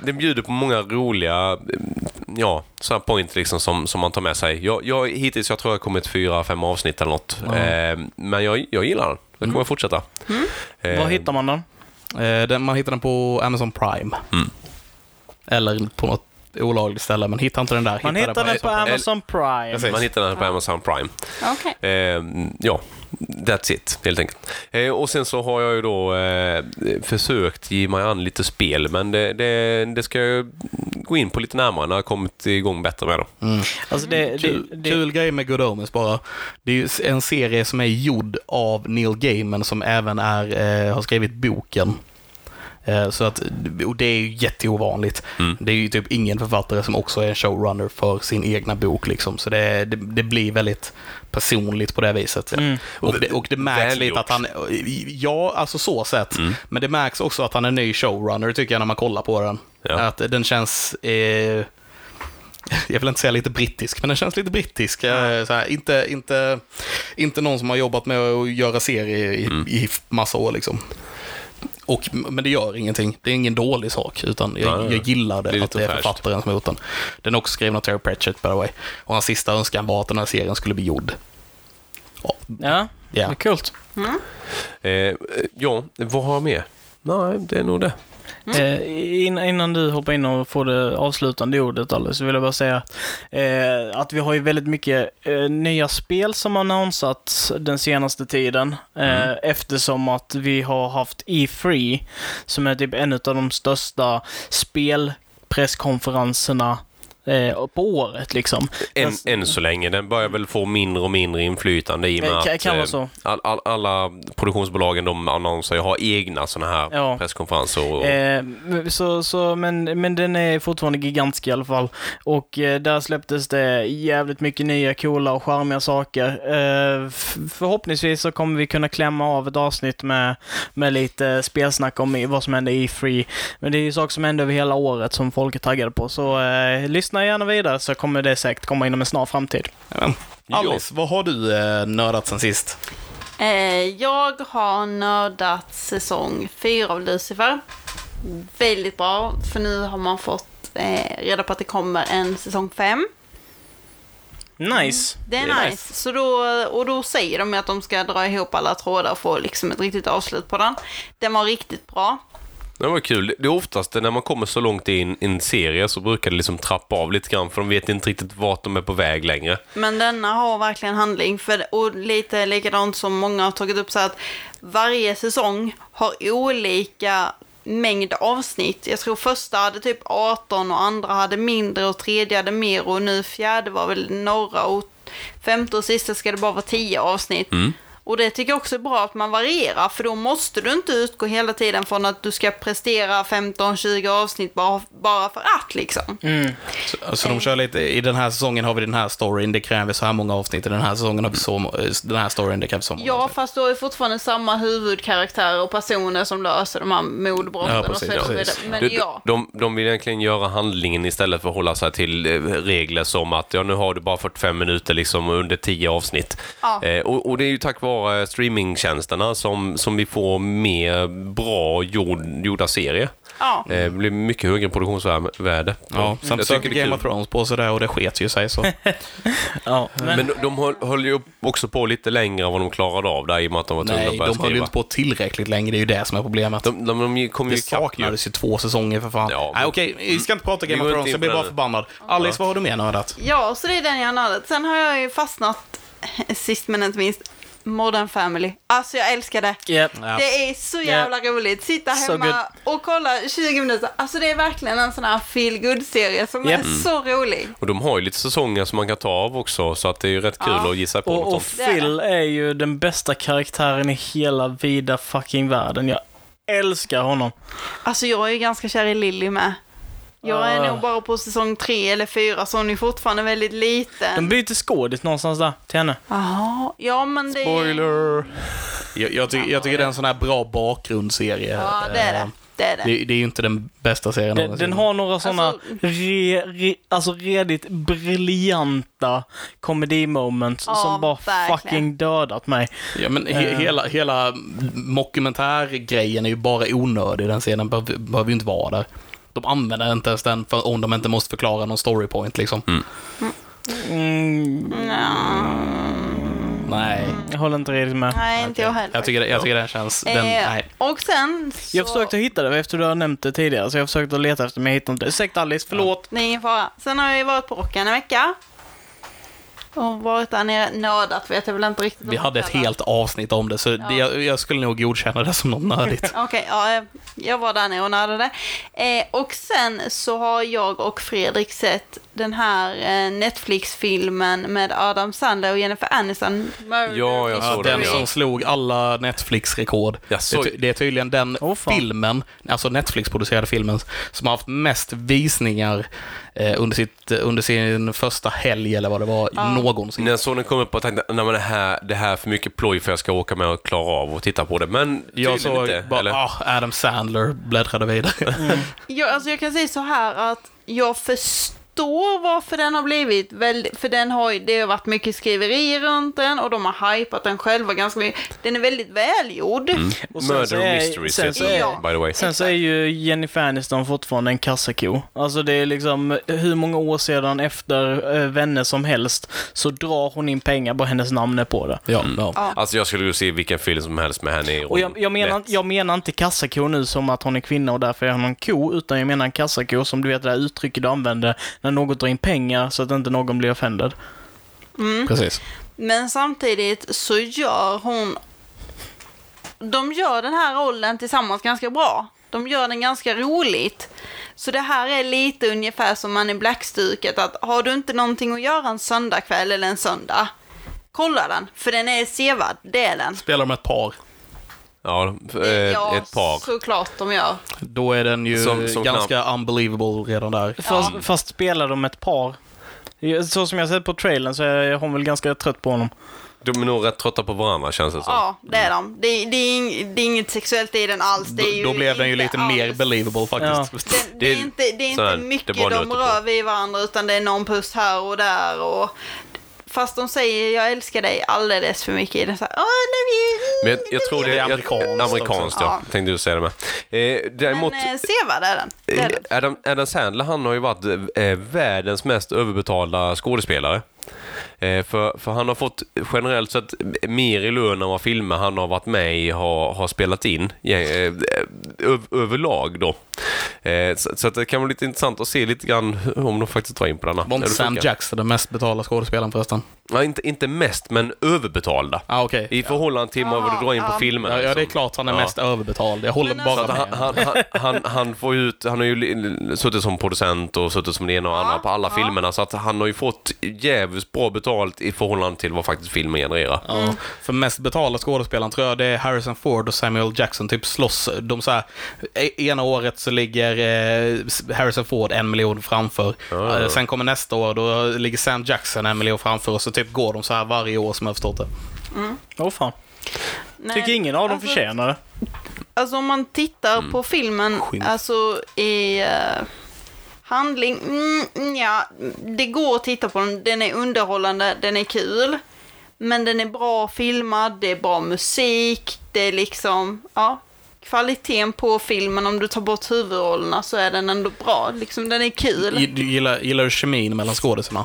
[SPEAKER 4] Den bjuder på många roliga mm, ja, så här point liksom som, som man tar med sig. Jag, jag, hittills jag tror jag har kommit fyra, fem avsnitt eller något. Eh, men jag, jag gillar den. Den kommer jag fortsätta. Eh,
[SPEAKER 2] Var hittar man den?
[SPEAKER 1] Eh, den, man hittar den på Amazon Prime. Eller på något olagligt ställe, men hittar inte den där.
[SPEAKER 2] Man hittar den på
[SPEAKER 1] Amazon
[SPEAKER 2] Amazon Prime.
[SPEAKER 1] Precis.
[SPEAKER 4] Man hittar den här på Amazon Prime.
[SPEAKER 3] Okej.
[SPEAKER 4] Eh, ja, that's it helt enkelt. Eh, och sen så har jag ju då eh, försökt ge mig an lite spel, men det, det, det ska jag gå in på lite närmare när jag kommit igång bättre med dem.
[SPEAKER 2] Alltså det, det,
[SPEAKER 1] Mm. Kul,
[SPEAKER 2] det,
[SPEAKER 1] kul grej med Good Omens bara. Det är ju en serie som är gjord av Neil Gaiman som även är, eh, har skrivit boken. Eh, så att, och det är ju jätteovanligt. Det är ju typ ingen författare som också är en showrunner för sin egna bok. Liksom. Så det, det, det blir väldigt personligt på det viset.
[SPEAKER 2] Mm.
[SPEAKER 1] Och, det, och det märks
[SPEAKER 4] Välgjort.
[SPEAKER 1] lite att han, ja, alltså så sett. Men det märks också att han är ny showrunner tycker jag när man kollar på den.
[SPEAKER 4] Ja.
[SPEAKER 1] Att den känns eh, jag vill inte säga lite brittisk, men den känns lite brittisk. Eh, Så här, inte, inte, inte någon som har jobbat med att göra serier i,
[SPEAKER 4] Mm.
[SPEAKER 1] i massa år. Liksom. Och, men det gör ingenting. Det är ingen dålig sak, utan jag,
[SPEAKER 4] Nej,
[SPEAKER 1] jag gillar det,
[SPEAKER 4] det är
[SPEAKER 1] att
[SPEAKER 4] lite
[SPEAKER 1] det är
[SPEAKER 4] fräscht.
[SPEAKER 1] författaren som har gjort den. Den är också skriven av Terry Pratchett, by the way. Och hans sista önskan var att den här serien skulle bli gjord. Ja,
[SPEAKER 2] ja,
[SPEAKER 1] Ja.
[SPEAKER 2] det
[SPEAKER 4] Mm.
[SPEAKER 2] är coolt.
[SPEAKER 4] Eh, eh, ja, vad har jag mer? Nej, det är nog det.
[SPEAKER 1] Mm.
[SPEAKER 2] Eh, in, innan du hoppar in och får det avslutande ordet Alice, så vill jag bara säga eh, att vi har ju väldigt mycket eh, nya spel som har annonsats den senaste tiden. Eh,
[SPEAKER 1] Mm.
[SPEAKER 2] Eftersom att vi har haft E3, som är typ en av de största spelpresskonferenserna eh, på året liksom.
[SPEAKER 4] Än,
[SPEAKER 2] Fast-
[SPEAKER 4] än så länge. Den börjar väl få mindre och mindre inflytande i och med
[SPEAKER 2] Eh, kan-
[SPEAKER 4] att
[SPEAKER 2] kan vara
[SPEAKER 4] eh,
[SPEAKER 2] så.
[SPEAKER 4] all, all, alla produktionsbolagen de annonserar har egna sådana här
[SPEAKER 2] Ja.
[SPEAKER 4] presskonferenser. Och,
[SPEAKER 2] Eh, så, så, men, men den är fortfarande gigantisk i alla fall. Och eh, där släpptes det jävligt mycket nya coola och charmiga saker. Eh, f- förhoppningsvis så kommer vi kunna klämma av ett avsnitt med, med lite spelsnack om i- vad som hände i Free. Men det är ju saker som händer över hela året som folk är taggade på. Så eh, lyssna gärna vidare så kommer det säkert komma inom en snar framtid.
[SPEAKER 1] jajamän. Alice, vad har du eh, nördat sen sist?
[SPEAKER 3] Eh, jag har nördat säsong 4 av Lucifer. Väldigt bra, för nu har man fått eh, reda på att det kommer en säsong 5.
[SPEAKER 2] Nice!
[SPEAKER 3] Det är, nice. Så då, och då säger de ju att de ska dra ihop alla trådar och få liksom ett riktigt avslut på den. Den var riktigt bra.
[SPEAKER 4] Det var kul. Det är oftast när man kommer så långt in i en serie så brukar det liksom trappa av lite grann för de vet inte riktigt vart de är på väg längre.
[SPEAKER 3] Men denna har verkligen handling. För, och lite likadant som många har tagit upp så här att varje säsong har olika mängd avsnitt. Jag tror första hade typ 18 och andra hade mindre och tredje hade mer och nu fjärde var väl några och femte och sista ska det bara vara 10 avsnitt. Och det tycker jag också är bra att man varierar för då måste du inte utgå hela tiden från att du ska prestera 15-20 avsnitt bara, bara för att liksom.
[SPEAKER 1] Så de kör lite, i den här säsongen har vi den här storyn, det kräver så här många avsnitt, i den här säsongen har vi så, må- eh, den här storyn, det krävs så många
[SPEAKER 3] Ja,
[SPEAKER 1] avsnitt.
[SPEAKER 3] fast du har ju fortfarande samma huvudkaraktärer och personer som löser de här mordbrotten
[SPEAKER 1] Ja,
[SPEAKER 3] och så
[SPEAKER 1] precis,
[SPEAKER 3] vidare.
[SPEAKER 1] precis.
[SPEAKER 3] Men
[SPEAKER 4] De,
[SPEAKER 3] ja.
[SPEAKER 4] de, de vill egentligen göra handlingen istället för att hålla sig till eh, regler som att ja, nu har du bara 45 minuter liksom under 10 avsnitt.
[SPEAKER 3] Ja.
[SPEAKER 4] Eh, och, och det är ju tack vare streamingtjänsterna som, som vi får mer bra gjord, gjorda serier.
[SPEAKER 3] ja.
[SPEAKER 4] Eh, Det blir mycket högre produktionsvärde.
[SPEAKER 1] Ja, sen
[SPEAKER 4] Jag tycker
[SPEAKER 1] försökte
[SPEAKER 4] det är
[SPEAKER 1] Game of
[SPEAKER 4] kul.
[SPEAKER 1] Thrones på sig där och det sket ju sig. Så.
[SPEAKER 2] Ja, men,
[SPEAKER 4] Men de, de höll, höll ju också på lite längre än vad de klarade av där i och med att de var tvungna
[SPEAKER 1] Nej,
[SPEAKER 4] att börja
[SPEAKER 1] de höll ju
[SPEAKER 4] skriva.
[SPEAKER 1] inte på tillräckligt länge, det är ju det som är problemet.
[SPEAKER 4] De, de, de kom ju
[SPEAKER 1] det
[SPEAKER 4] ikapp ju.
[SPEAKER 1] saknades ju två säsonger för fan.
[SPEAKER 4] Ja,
[SPEAKER 1] Nej,
[SPEAKER 4] men-
[SPEAKER 1] okej, vi ska inte prata
[SPEAKER 4] Vi
[SPEAKER 1] Game
[SPEAKER 4] går
[SPEAKER 1] of
[SPEAKER 4] inte
[SPEAKER 1] Thrones, jag
[SPEAKER 4] in
[SPEAKER 1] blir bara
[SPEAKER 4] på det nu.
[SPEAKER 1] förbannad. Alice, vad har du mer nördat?
[SPEAKER 3] ja, så det är den jag har nördat. Sen har jag ju fastnat, sist men inte minst, Modern Family. Alltså jag älskar det.
[SPEAKER 2] yep.
[SPEAKER 1] Ja.
[SPEAKER 3] Det är så jävla roligt. Sitta
[SPEAKER 2] So
[SPEAKER 3] hemma och kolla 20 minuter. Alltså det är verkligen en sån här feel good serie som
[SPEAKER 2] Yep.
[SPEAKER 3] är
[SPEAKER 1] Mm.
[SPEAKER 3] så rolig.
[SPEAKER 4] Och de har ju lite säsonger som man kan ta av också, så att det är ju rätt kul
[SPEAKER 3] Ja.
[SPEAKER 4] att gissa på något
[SPEAKER 2] Och, och
[SPEAKER 4] sånt.
[SPEAKER 3] Det är
[SPEAKER 2] Phil är ju den bästa karaktären i hela vida fucking världen. Jag älskar honom.
[SPEAKER 3] Alltså jag är ju ganska kär i Lily med. Jag är
[SPEAKER 2] Ah.
[SPEAKER 3] nog bara på säsong tre eller fyra så hon är fortfarande väldigt liten.
[SPEAKER 2] De byter skådis någonstans där till henne.
[SPEAKER 3] Jaha, Mm. ja men det
[SPEAKER 1] Spoiler! Jag, jag, ty- jag tycker det är en sån här bra bakgrundsserie.
[SPEAKER 3] Ja, det är
[SPEAKER 1] Eh,
[SPEAKER 3] det. Det är det.
[SPEAKER 1] Det, det är ju inte den bästa serien
[SPEAKER 2] Den,
[SPEAKER 1] någonsin.
[SPEAKER 2] den har några sådana
[SPEAKER 3] Alltså-
[SPEAKER 2] re, re, alltså redigt briljanta komedimoments
[SPEAKER 3] Ja,
[SPEAKER 2] som bara
[SPEAKER 3] verkligen.
[SPEAKER 2] fucking dödat mig.
[SPEAKER 1] Ja, men he-
[SPEAKER 2] Eh.
[SPEAKER 1] hela, hela mockumentärgrejen är ju bara onödig. Den scenen behöver behöver ju inte vara där. De använder inte ens den för, om de inte måste förklara någon storypoint liksom.
[SPEAKER 2] Mm,
[SPEAKER 1] Nej,
[SPEAKER 2] jag håller inte riktigt med.
[SPEAKER 3] Nej, inte jag heller.
[SPEAKER 1] jag tycker, det- jag tycker den känns... Den,
[SPEAKER 3] Eh,
[SPEAKER 1] nej.
[SPEAKER 3] Och sen så...
[SPEAKER 2] Jag försökte hitta det efter du har nämnt det tidigare, så jag försökte leta efter det, men jag hittade inte det. Ursäkta Alice, förlåt.
[SPEAKER 3] Det är ingen fara. Sen har jag ju varit på rocken en vecka. Och varit där nere, nördat vet jag väl inte riktigt. om
[SPEAKER 1] Vi hade ett
[SPEAKER 3] heller.
[SPEAKER 1] helt avsnitt om det, så det, jag, jag skulle nog godkänna det som något nördigt.
[SPEAKER 3] Okej, ja, eh, jag var där nere och nördade. Eh, och sen så har jag och Fredrik sett den här eh, Netflix-filmen med Adam Sandler och Jennifer Aniston. Murder
[SPEAKER 4] Ja, jag såg
[SPEAKER 1] Den
[SPEAKER 4] den, ja.
[SPEAKER 1] som slog alla Netflix-rekord.
[SPEAKER 4] Jag såg-
[SPEAKER 1] Det, är ty- det är tydligen den
[SPEAKER 2] Åh, fan.
[SPEAKER 1] filmen, alltså Netflix-producerade filmen, som har haft mest visningar eh, under, sitt, under sin första helg eller vad det var, någonsin.
[SPEAKER 4] När jag såg den kom upp och tänkte nej, men det, här, det här är för mycket ploj för jag ska åka med och klara av och titta på det. Men tydligen
[SPEAKER 1] Jag såg
[SPEAKER 4] inte.
[SPEAKER 1] bara,
[SPEAKER 4] eller? Mm.
[SPEAKER 1] ah, Adam Sandler bläddrade vidare.
[SPEAKER 3] Jag, alltså jag kan säga så här att jag förstår varför den har blivit väldigt, för den har ju, det har varit mycket skriverier runt den och de har hypat den själva ganska mycket. Den är väldigt välgjord.
[SPEAKER 2] Och sen så
[SPEAKER 4] Murder
[SPEAKER 2] är-
[SPEAKER 4] Mysteries
[SPEAKER 2] sen
[SPEAKER 4] heter
[SPEAKER 2] så
[SPEAKER 4] den,
[SPEAKER 3] är-
[SPEAKER 4] by the way.
[SPEAKER 2] Sen så är ju Jennifer Aniston fortfarande en kassako. Alltså det är liksom hur många år sedan efter eh, Vänner som helst så drar hon in pengar, bara hennes namn är på det.
[SPEAKER 1] ja, ja.
[SPEAKER 4] Alltså jag skulle ju se vilken film som helst med henne i
[SPEAKER 2] Och jag, jag, menar, jag menar inte kassako nu som att hon är kvinna och därför är hon en ko, utan jag menar en kassako som du vet det där uttrycket du använder när någon drar in pengar så att inte någon blir offended.
[SPEAKER 3] Mm.
[SPEAKER 1] precis.
[SPEAKER 3] Men samtidigt så gör hon... De gör den här rollen tillsammans ganska bra. De gör den ganska roligt. Så det här är lite ungefär som man i Black-stuket, att har du inte någonting att göra en söndagkväll eller en söndag, kolla den, för den är sevärd, det är den.
[SPEAKER 1] Spelar de ett par,
[SPEAKER 4] Ja, eh, ett par.
[SPEAKER 3] såklart de gör.
[SPEAKER 1] då är den ju
[SPEAKER 4] Som- som
[SPEAKER 1] ganska unbelievable redan där.
[SPEAKER 2] Fast,
[SPEAKER 3] Mm.
[SPEAKER 2] fast spelar de ett par? Så som jag sett på trailern så är hon väl ganska trött på honom.
[SPEAKER 4] De är nog rätt trötta på varandra känns det som.
[SPEAKER 3] Ja, det är de. Det, är- det, är, ing, det är inget sexuellt i den alls. Det är ju
[SPEAKER 1] Då blev den ju
[SPEAKER 3] inte
[SPEAKER 1] lite
[SPEAKER 3] alls.
[SPEAKER 1] mer believable faktiskt.
[SPEAKER 3] Det, det är inte, det är inte
[SPEAKER 4] så här,
[SPEAKER 3] mycket
[SPEAKER 4] det bara
[SPEAKER 3] de
[SPEAKER 4] nöter på.
[SPEAKER 3] rör vid varandra utan det är någon puss här och där. Och, fast de säger jag älskar dig alldeles för mycket i den så här, Åh,
[SPEAKER 4] Men
[SPEAKER 3] nej,
[SPEAKER 4] jag, jag tror det är
[SPEAKER 1] Det är
[SPEAKER 4] jag-
[SPEAKER 1] amerikanskt
[SPEAKER 4] Amerikanskt, ja.
[SPEAKER 3] Ja.
[SPEAKER 4] Tänkte du säga det med. Eh, däremot,
[SPEAKER 3] Men eh, sevärd är den. Det är
[SPEAKER 4] eh,
[SPEAKER 3] den.
[SPEAKER 4] Adam, Adam Sandler, han har ju varit eh, världens mest överbetalda skådespelare. Eh, för, för han har fått generellt sett mer i lön än vad filmer han har varit med i har, har spelat in eh, eh, öv, överlag då. Eh, så, så att det kan vara lite intressant att se lite grann om de faktiskt tar in på denna.
[SPEAKER 1] Var inte
[SPEAKER 4] Eller
[SPEAKER 1] Sam
[SPEAKER 4] funkar.
[SPEAKER 1] Jackson den mest betalda skådespelaren förresten?
[SPEAKER 4] Ja, inte, inte mest, men överbetalda.
[SPEAKER 1] Ah, okej.
[SPEAKER 4] I förhållande till vad du drar in på filmen.
[SPEAKER 1] Ja, ja, det är
[SPEAKER 4] liksom.
[SPEAKER 1] klart han är
[SPEAKER 4] Ja.
[SPEAKER 1] mest överbetald. Jag håller
[SPEAKER 3] Men
[SPEAKER 1] bara
[SPEAKER 3] alltså-
[SPEAKER 1] med.
[SPEAKER 4] Han, han, han- han, han får ju ut, han har ju li- suttit som producent och suttit som det ena och andra på alla filmerna så att han har ju fått jävligt bra betalt i förhållande till vad faktiskt filmen genererar.
[SPEAKER 1] Ja. För mest betalda skådespelaren tror jag det är Harrison Ford och Samuel Jackson. Typ slåss. De så här, e- ena året så ligger eh, S- Harrison Ford en miljon framför.
[SPEAKER 4] Ja.
[SPEAKER 1] Eh, Sen kommer nästa år, då ligger Sam Jackson en miljon framför. Och så typ går de så här varje år som jag har förstått det.
[SPEAKER 2] Åh fan.
[SPEAKER 3] Nej,
[SPEAKER 2] Tycker ingen av dem
[SPEAKER 3] alltså,
[SPEAKER 2] förtjänar det.
[SPEAKER 3] Alltså om man tittar på filmen,
[SPEAKER 1] Skymf.
[SPEAKER 3] alltså i eh, handling, mm, mm, ja, det går att titta på den. Den är underhållande, den är kul. Men den är bra filmad, det är bra musik, det är liksom, ja. Kvaliteten på filmen, om du tar bort huvudrollerna så är den ändå bra. Liksom, den är kul.
[SPEAKER 1] G- du Gillar, gillar du kemin mellan skådisarna?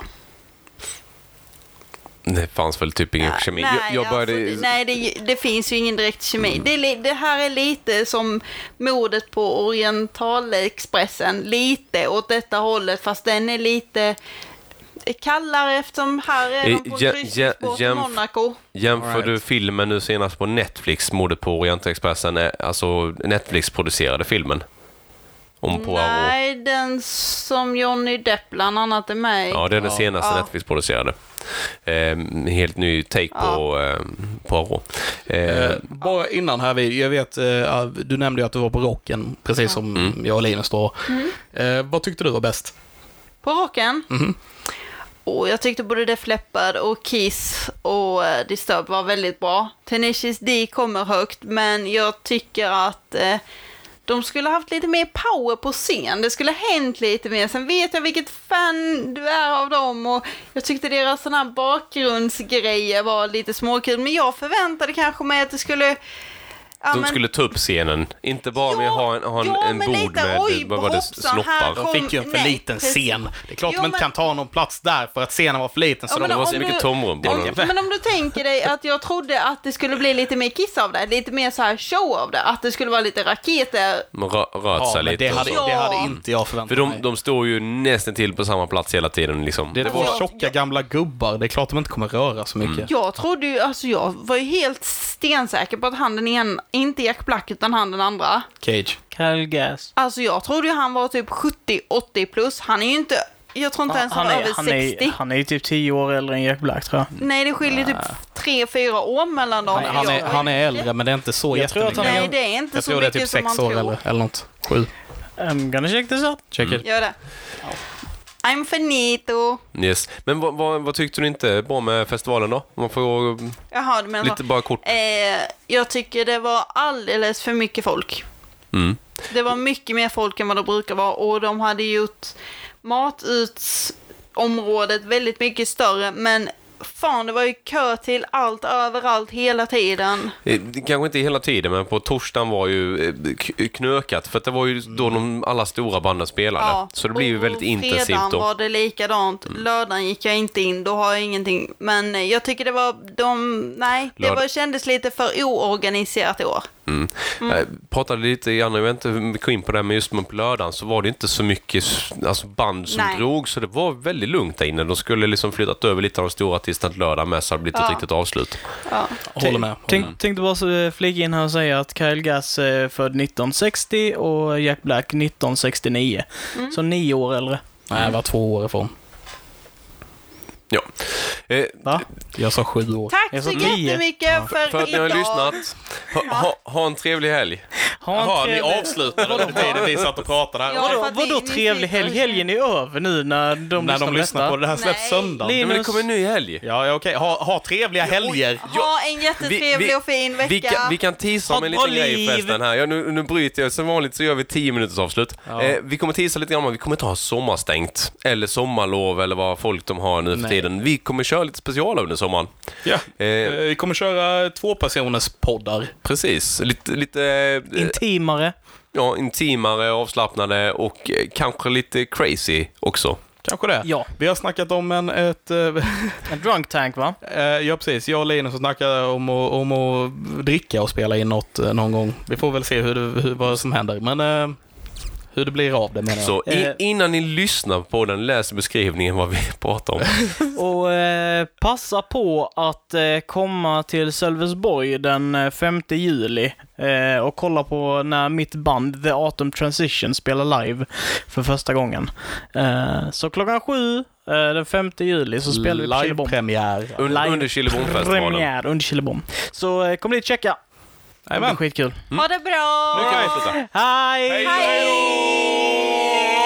[SPEAKER 4] Det fanns väl typ ingen kemi.
[SPEAKER 3] Nej,
[SPEAKER 4] jag, jag började...
[SPEAKER 3] alltså, det- nej det, det finns ju ingen direkt kemi. Det, är li- det här är lite som mordet på Orientalexpressen. Lite åt detta hållet, fast den är lite kallare eftersom här är de
[SPEAKER 4] Eh,
[SPEAKER 3] på
[SPEAKER 4] jä-
[SPEAKER 3] kryssningsbåt
[SPEAKER 4] jä-
[SPEAKER 3] i
[SPEAKER 4] jämf-
[SPEAKER 3] Monaco.
[SPEAKER 4] Jämför
[SPEAKER 1] Alright.
[SPEAKER 4] du filmen nu senast på Netflix, mordet på Orientexpressen, eh, alltså Netflix-producerade filmen? Om Poirot.
[SPEAKER 3] Nej, den som Johnny Depp bland annat är med i.
[SPEAKER 4] Ja, det är den senaste
[SPEAKER 3] Ja.
[SPEAKER 4] Netflix-producerade. Ehm, helt ny take på eh, Poirot. Ehm,
[SPEAKER 1] Eh, bara innan här, vid- jag vet, eh, du nämnde ju att du var på rocken, precis som
[SPEAKER 4] Mm.
[SPEAKER 1] jag och Linus då.
[SPEAKER 3] Mm.
[SPEAKER 1] Eh, vad tyckte du var bäst?
[SPEAKER 3] På rocken? Och jag tyckte både Def Leppard och Kiss och eh, Disturbed var väldigt bra. Tenacious D kommer högt, men jag tycker att eh, de skulle haft lite mer power på scen. Det skulle ha hänt lite mer. Sen vet jag vilket fan du är av dem och jag tyckte deras sådana här bakgrundsgrejer var lite småkul. Men jag förväntade kanske mig att det skulle Ja,
[SPEAKER 4] de
[SPEAKER 3] men-
[SPEAKER 4] skulle ta upp scenen. Inte bara med
[SPEAKER 3] Ja,
[SPEAKER 4] ha en, ha en,
[SPEAKER 3] ja,
[SPEAKER 4] en
[SPEAKER 3] men
[SPEAKER 4] bord
[SPEAKER 3] lite,
[SPEAKER 4] med
[SPEAKER 3] oj,
[SPEAKER 4] bara- bara det
[SPEAKER 3] hoppsan, här
[SPEAKER 4] snoppar.
[SPEAKER 3] kom-
[SPEAKER 1] De fick ju en för
[SPEAKER 3] nej,
[SPEAKER 1] liten
[SPEAKER 3] precis.
[SPEAKER 1] scen. Det är klart
[SPEAKER 3] Jo,
[SPEAKER 1] de inte
[SPEAKER 3] men-
[SPEAKER 1] kan ta någon plats där för att scenen var för liten. Så
[SPEAKER 3] Ja, men
[SPEAKER 1] de
[SPEAKER 4] Det var
[SPEAKER 3] om
[SPEAKER 4] så mycket
[SPEAKER 3] du-
[SPEAKER 4] tomrum. bara.
[SPEAKER 1] Ja.
[SPEAKER 3] Men om du tänker dig att jag trodde att det skulle bli lite mer kiss av det, lite mer så här show av det, att det skulle vara lite raketer.
[SPEAKER 4] De rö- rört
[SPEAKER 1] Ja,
[SPEAKER 4] sig
[SPEAKER 1] men
[SPEAKER 4] lite.
[SPEAKER 1] det
[SPEAKER 4] och
[SPEAKER 1] hade,
[SPEAKER 4] så.
[SPEAKER 3] Ja.
[SPEAKER 1] det hade inte jag
[SPEAKER 4] För
[SPEAKER 1] förväntat
[SPEAKER 4] de,
[SPEAKER 1] mig.
[SPEAKER 4] de står ju nästan till på samma plats hela tiden. Liksom.
[SPEAKER 1] Det är två
[SPEAKER 3] Ja.
[SPEAKER 1] tjocka gamla gubbar. Det är klart de inte kommer röra så mycket.
[SPEAKER 3] Jag trodde ju, alltså jag var ju helt stensäker på att han den ena, inte Jack Black utan han den andra.
[SPEAKER 1] Cage.
[SPEAKER 2] Kyle Gas.
[SPEAKER 3] Alltså jag trodde ju han var typ 70-80 plus, han är ju inte, jag tror inte ens han,
[SPEAKER 2] han,
[SPEAKER 3] är över
[SPEAKER 2] är, han,
[SPEAKER 3] 60.
[SPEAKER 2] är, han är ju typ 10 år äldre än Jack Black tror jag.
[SPEAKER 3] Nej, det skiljer typ 3-4 år mellan dem.
[SPEAKER 1] Han, han, är, han är äldre, men det är inte så
[SPEAKER 2] Jag tror att han
[SPEAKER 1] jättemycket.
[SPEAKER 2] är-
[SPEAKER 3] Nej, det är inte
[SPEAKER 1] Jag
[SPEAKER 3] så
[SPEAKER 1] tror det är
[SPEAKER 3] mycket
[SPEAKER 1] typ
[SPEAKER 3] som man
[SPEAKER 1] sex
[SPEAKER 3] tror.
[SPEAKER 1] år eller, eller något. Sju.
[SPEAKER 2] I'm gonna check this out.
[SPEAKER 1] Check it.
[SPEAKER 3] Gör det. I'm finito.
[SPEAKER 4] Yes. Men vad, vad, vad tyckte du inte är bra med festivalen då? Om Man får mm,
[SPEAKER 3] Jaha, du menar så.
[SPEAKER 4] lite bara kort.
[SPEAKER 3] Eh, jag tycker det var alldeles för mycket folk.
[SPEAKER 4] Mm.
[SPEAKER 3] Det var mycket mer folk än vad det brukar vara och de hade gjort matutsområdet väldigt mycket större men fan det var ju kö till allt överallt hela tiden.
[SPEAKER 4] Eh, det Kanske inte hela tiden, men på torsdagen var ju eh, k- knökat. För att det var ju då de alla stora banden spelade. Så det blev ju
[SPEAKER 3] och
[SPEAKER 4] väldigt intensivt
[SPEAKER 3] Fredagen
[SPEAKER 4] då. Mm.
[SPEAKER 3] var det likadant. Lördagen gick jag inte in, då har jag ingenting. Men eh, jag tycker det var de, nej, det
[SPEAKER 4] Lörd-
[SPEAKER 3] var, kändes lite för oorganiserat i år.
[SPEAKER 4] Mm. Jag pratade lite grann, jag vet inte hur mycket in på det, här, men just på lördagen så var det inte så mycket s- alltså band som
[SPEAKER 3] Nej.
[SPEAKER 4] drog, så det var väldigt lugnt där inne. De skulle liksom flyttat över lite av de stora tills den lördag med, så det hade blivit ett
[SPEAKER 3] Ja.
[SPEAKER 4] riktigt avslut.
[SPEAKER 3] Ja.
[SPEAKER 1] Håller med. Håller med.
[SPEAKER 2] Tänk, tänkte bara så, eh, flika in här och säga att Kyle Gas är född 1960 och Jack Black 1969.
[SPEAKER 3] Mm.
[SPEAKER 2] Så nio år äldre.
[SPEAKER 1] Nej, jag var två år ifrån.
[SPEAKER 4] Ja. Eh,
[SPEAKER 2] Va?
[SPEAKER 1] Jag sa sju år.
[SPEAKER 3] Tack
[SPEAKER 2] Jag
[SPEAKER 3] så
[SPEAKER 2] sa nio.
[SPEAKER 3] jättemycket för,
[SPEAKER 4] för att ni har
[SPEAKER 3] idag.
[SPEAKER 4] lyssnat, ha, ha, ha en trevlig helg.
[SPEAKER 2] Ha en trevlig-
[SPEAKER 1] avslutade under tiden vi satt och pratade här.
[SPEAKER 3] Ja,
[SPEAKER 2] Vadå,
[SPEAKER 3] för att
[SPEAKER 2] vadå
[SPEAKER 3] ni- ni
[SPEAKER 2] trevlig
[SPEAKER 3] sitter och
[SPEAKER 2] helg? Helgen är över nu när de
[SPEAKER 1] När de lyssnar på det här släpps
[SPEAKER 3] Nej.
[SPEAKER 1] söndag.
[SPEAKER 2] Lin-
[SPEAKER 4] Nej, men det kommer en ny helg.
[SPEAKER 1] Ja, ja, okej. Ha, ha trevliga helger.
[SPEAKER 3] Ha en jättetrevlig och fin vecka.
[SPEAKER 4] Vi kan, vi kan tisa om
[SPEAKER 2] Ha
[SPEAKER 4] en
[SPEAKER 2] bra
[SPEAKER 4] liten grej
[SPEAKER 2] liv.
[SPEAKER 4] förresten här. Ja, nu, nu bryter jag. Som vanligt så gör vi 10 minuters avslut. Eh, vi kommer tisa lite grann om att vi kommer inte ha sommarstängt. Eller sommarlov eller vad folk de har nu för
[SPEAKER 1] Nej.
[SPEAKER 4] tiden. Vi kommer köra lite specialer under sommaren.
[SPEAKER 1] Ja. Eh,
[SPEAKER 4] Eh,
[SPEAKER 1] Vi kommer köra två personers poddar.
[SPEAKER 4] precis. Lite, lite eh,
[SPEAKER 2] Intimare.
[SPEAKER 4] ja, intimare, avslappnade och eh, kanske lite crazy också.
[SPEAKER 1] Kanske det.
[SPEAKER 2] Ja.
[SPEAKER 1] Vi har snackat om en, ett... eh,
[SPEAKER 2] En drunk tank va?
[SPEAKER 1] eh, ja, precis. Jag och Linus har snackat om att, om att dricka och spela in något eh, någon gång. Vi får väl se hur det, hur, vad som händer. Men eh, hur det blir av det menar jag.
[SPEAKER 4] Så i,
[SPEAKER 2] Eh.
[SPEAKER 4] innan ni lyssnar på den, läs beskrivningen vad vi pratar om.
[SPEAKER 2] Och eh, passa på att eh, komma till Sölvesborg den eh, 5 juli eh, och kolla på när mitt band The Autumn Transition spelar live för första gången. Eh, så klockan sju eh, den 5 juli så spelar vi på Killebom.
[SPEAKER 1] Live-premiär.
[SPEAKER 4] Un,
[SPEAKER 2] Live
[SPEAKER 4] under Killebornfestivalen.
[SPEAKER 2] Premiär under Killebom. Så eh, kom dit och checka. Det blir
[SPEAKER 1] Jajamän.
[SPEAKER 4] Mm.
[SPEAKER 2] skitkul.
[SPEAKER 3] Ha det bra!
[SPEAKER 4] Nu kan vi sluta.
[SPEAKER 2] Hej!
[SPEAKER 3] Hej!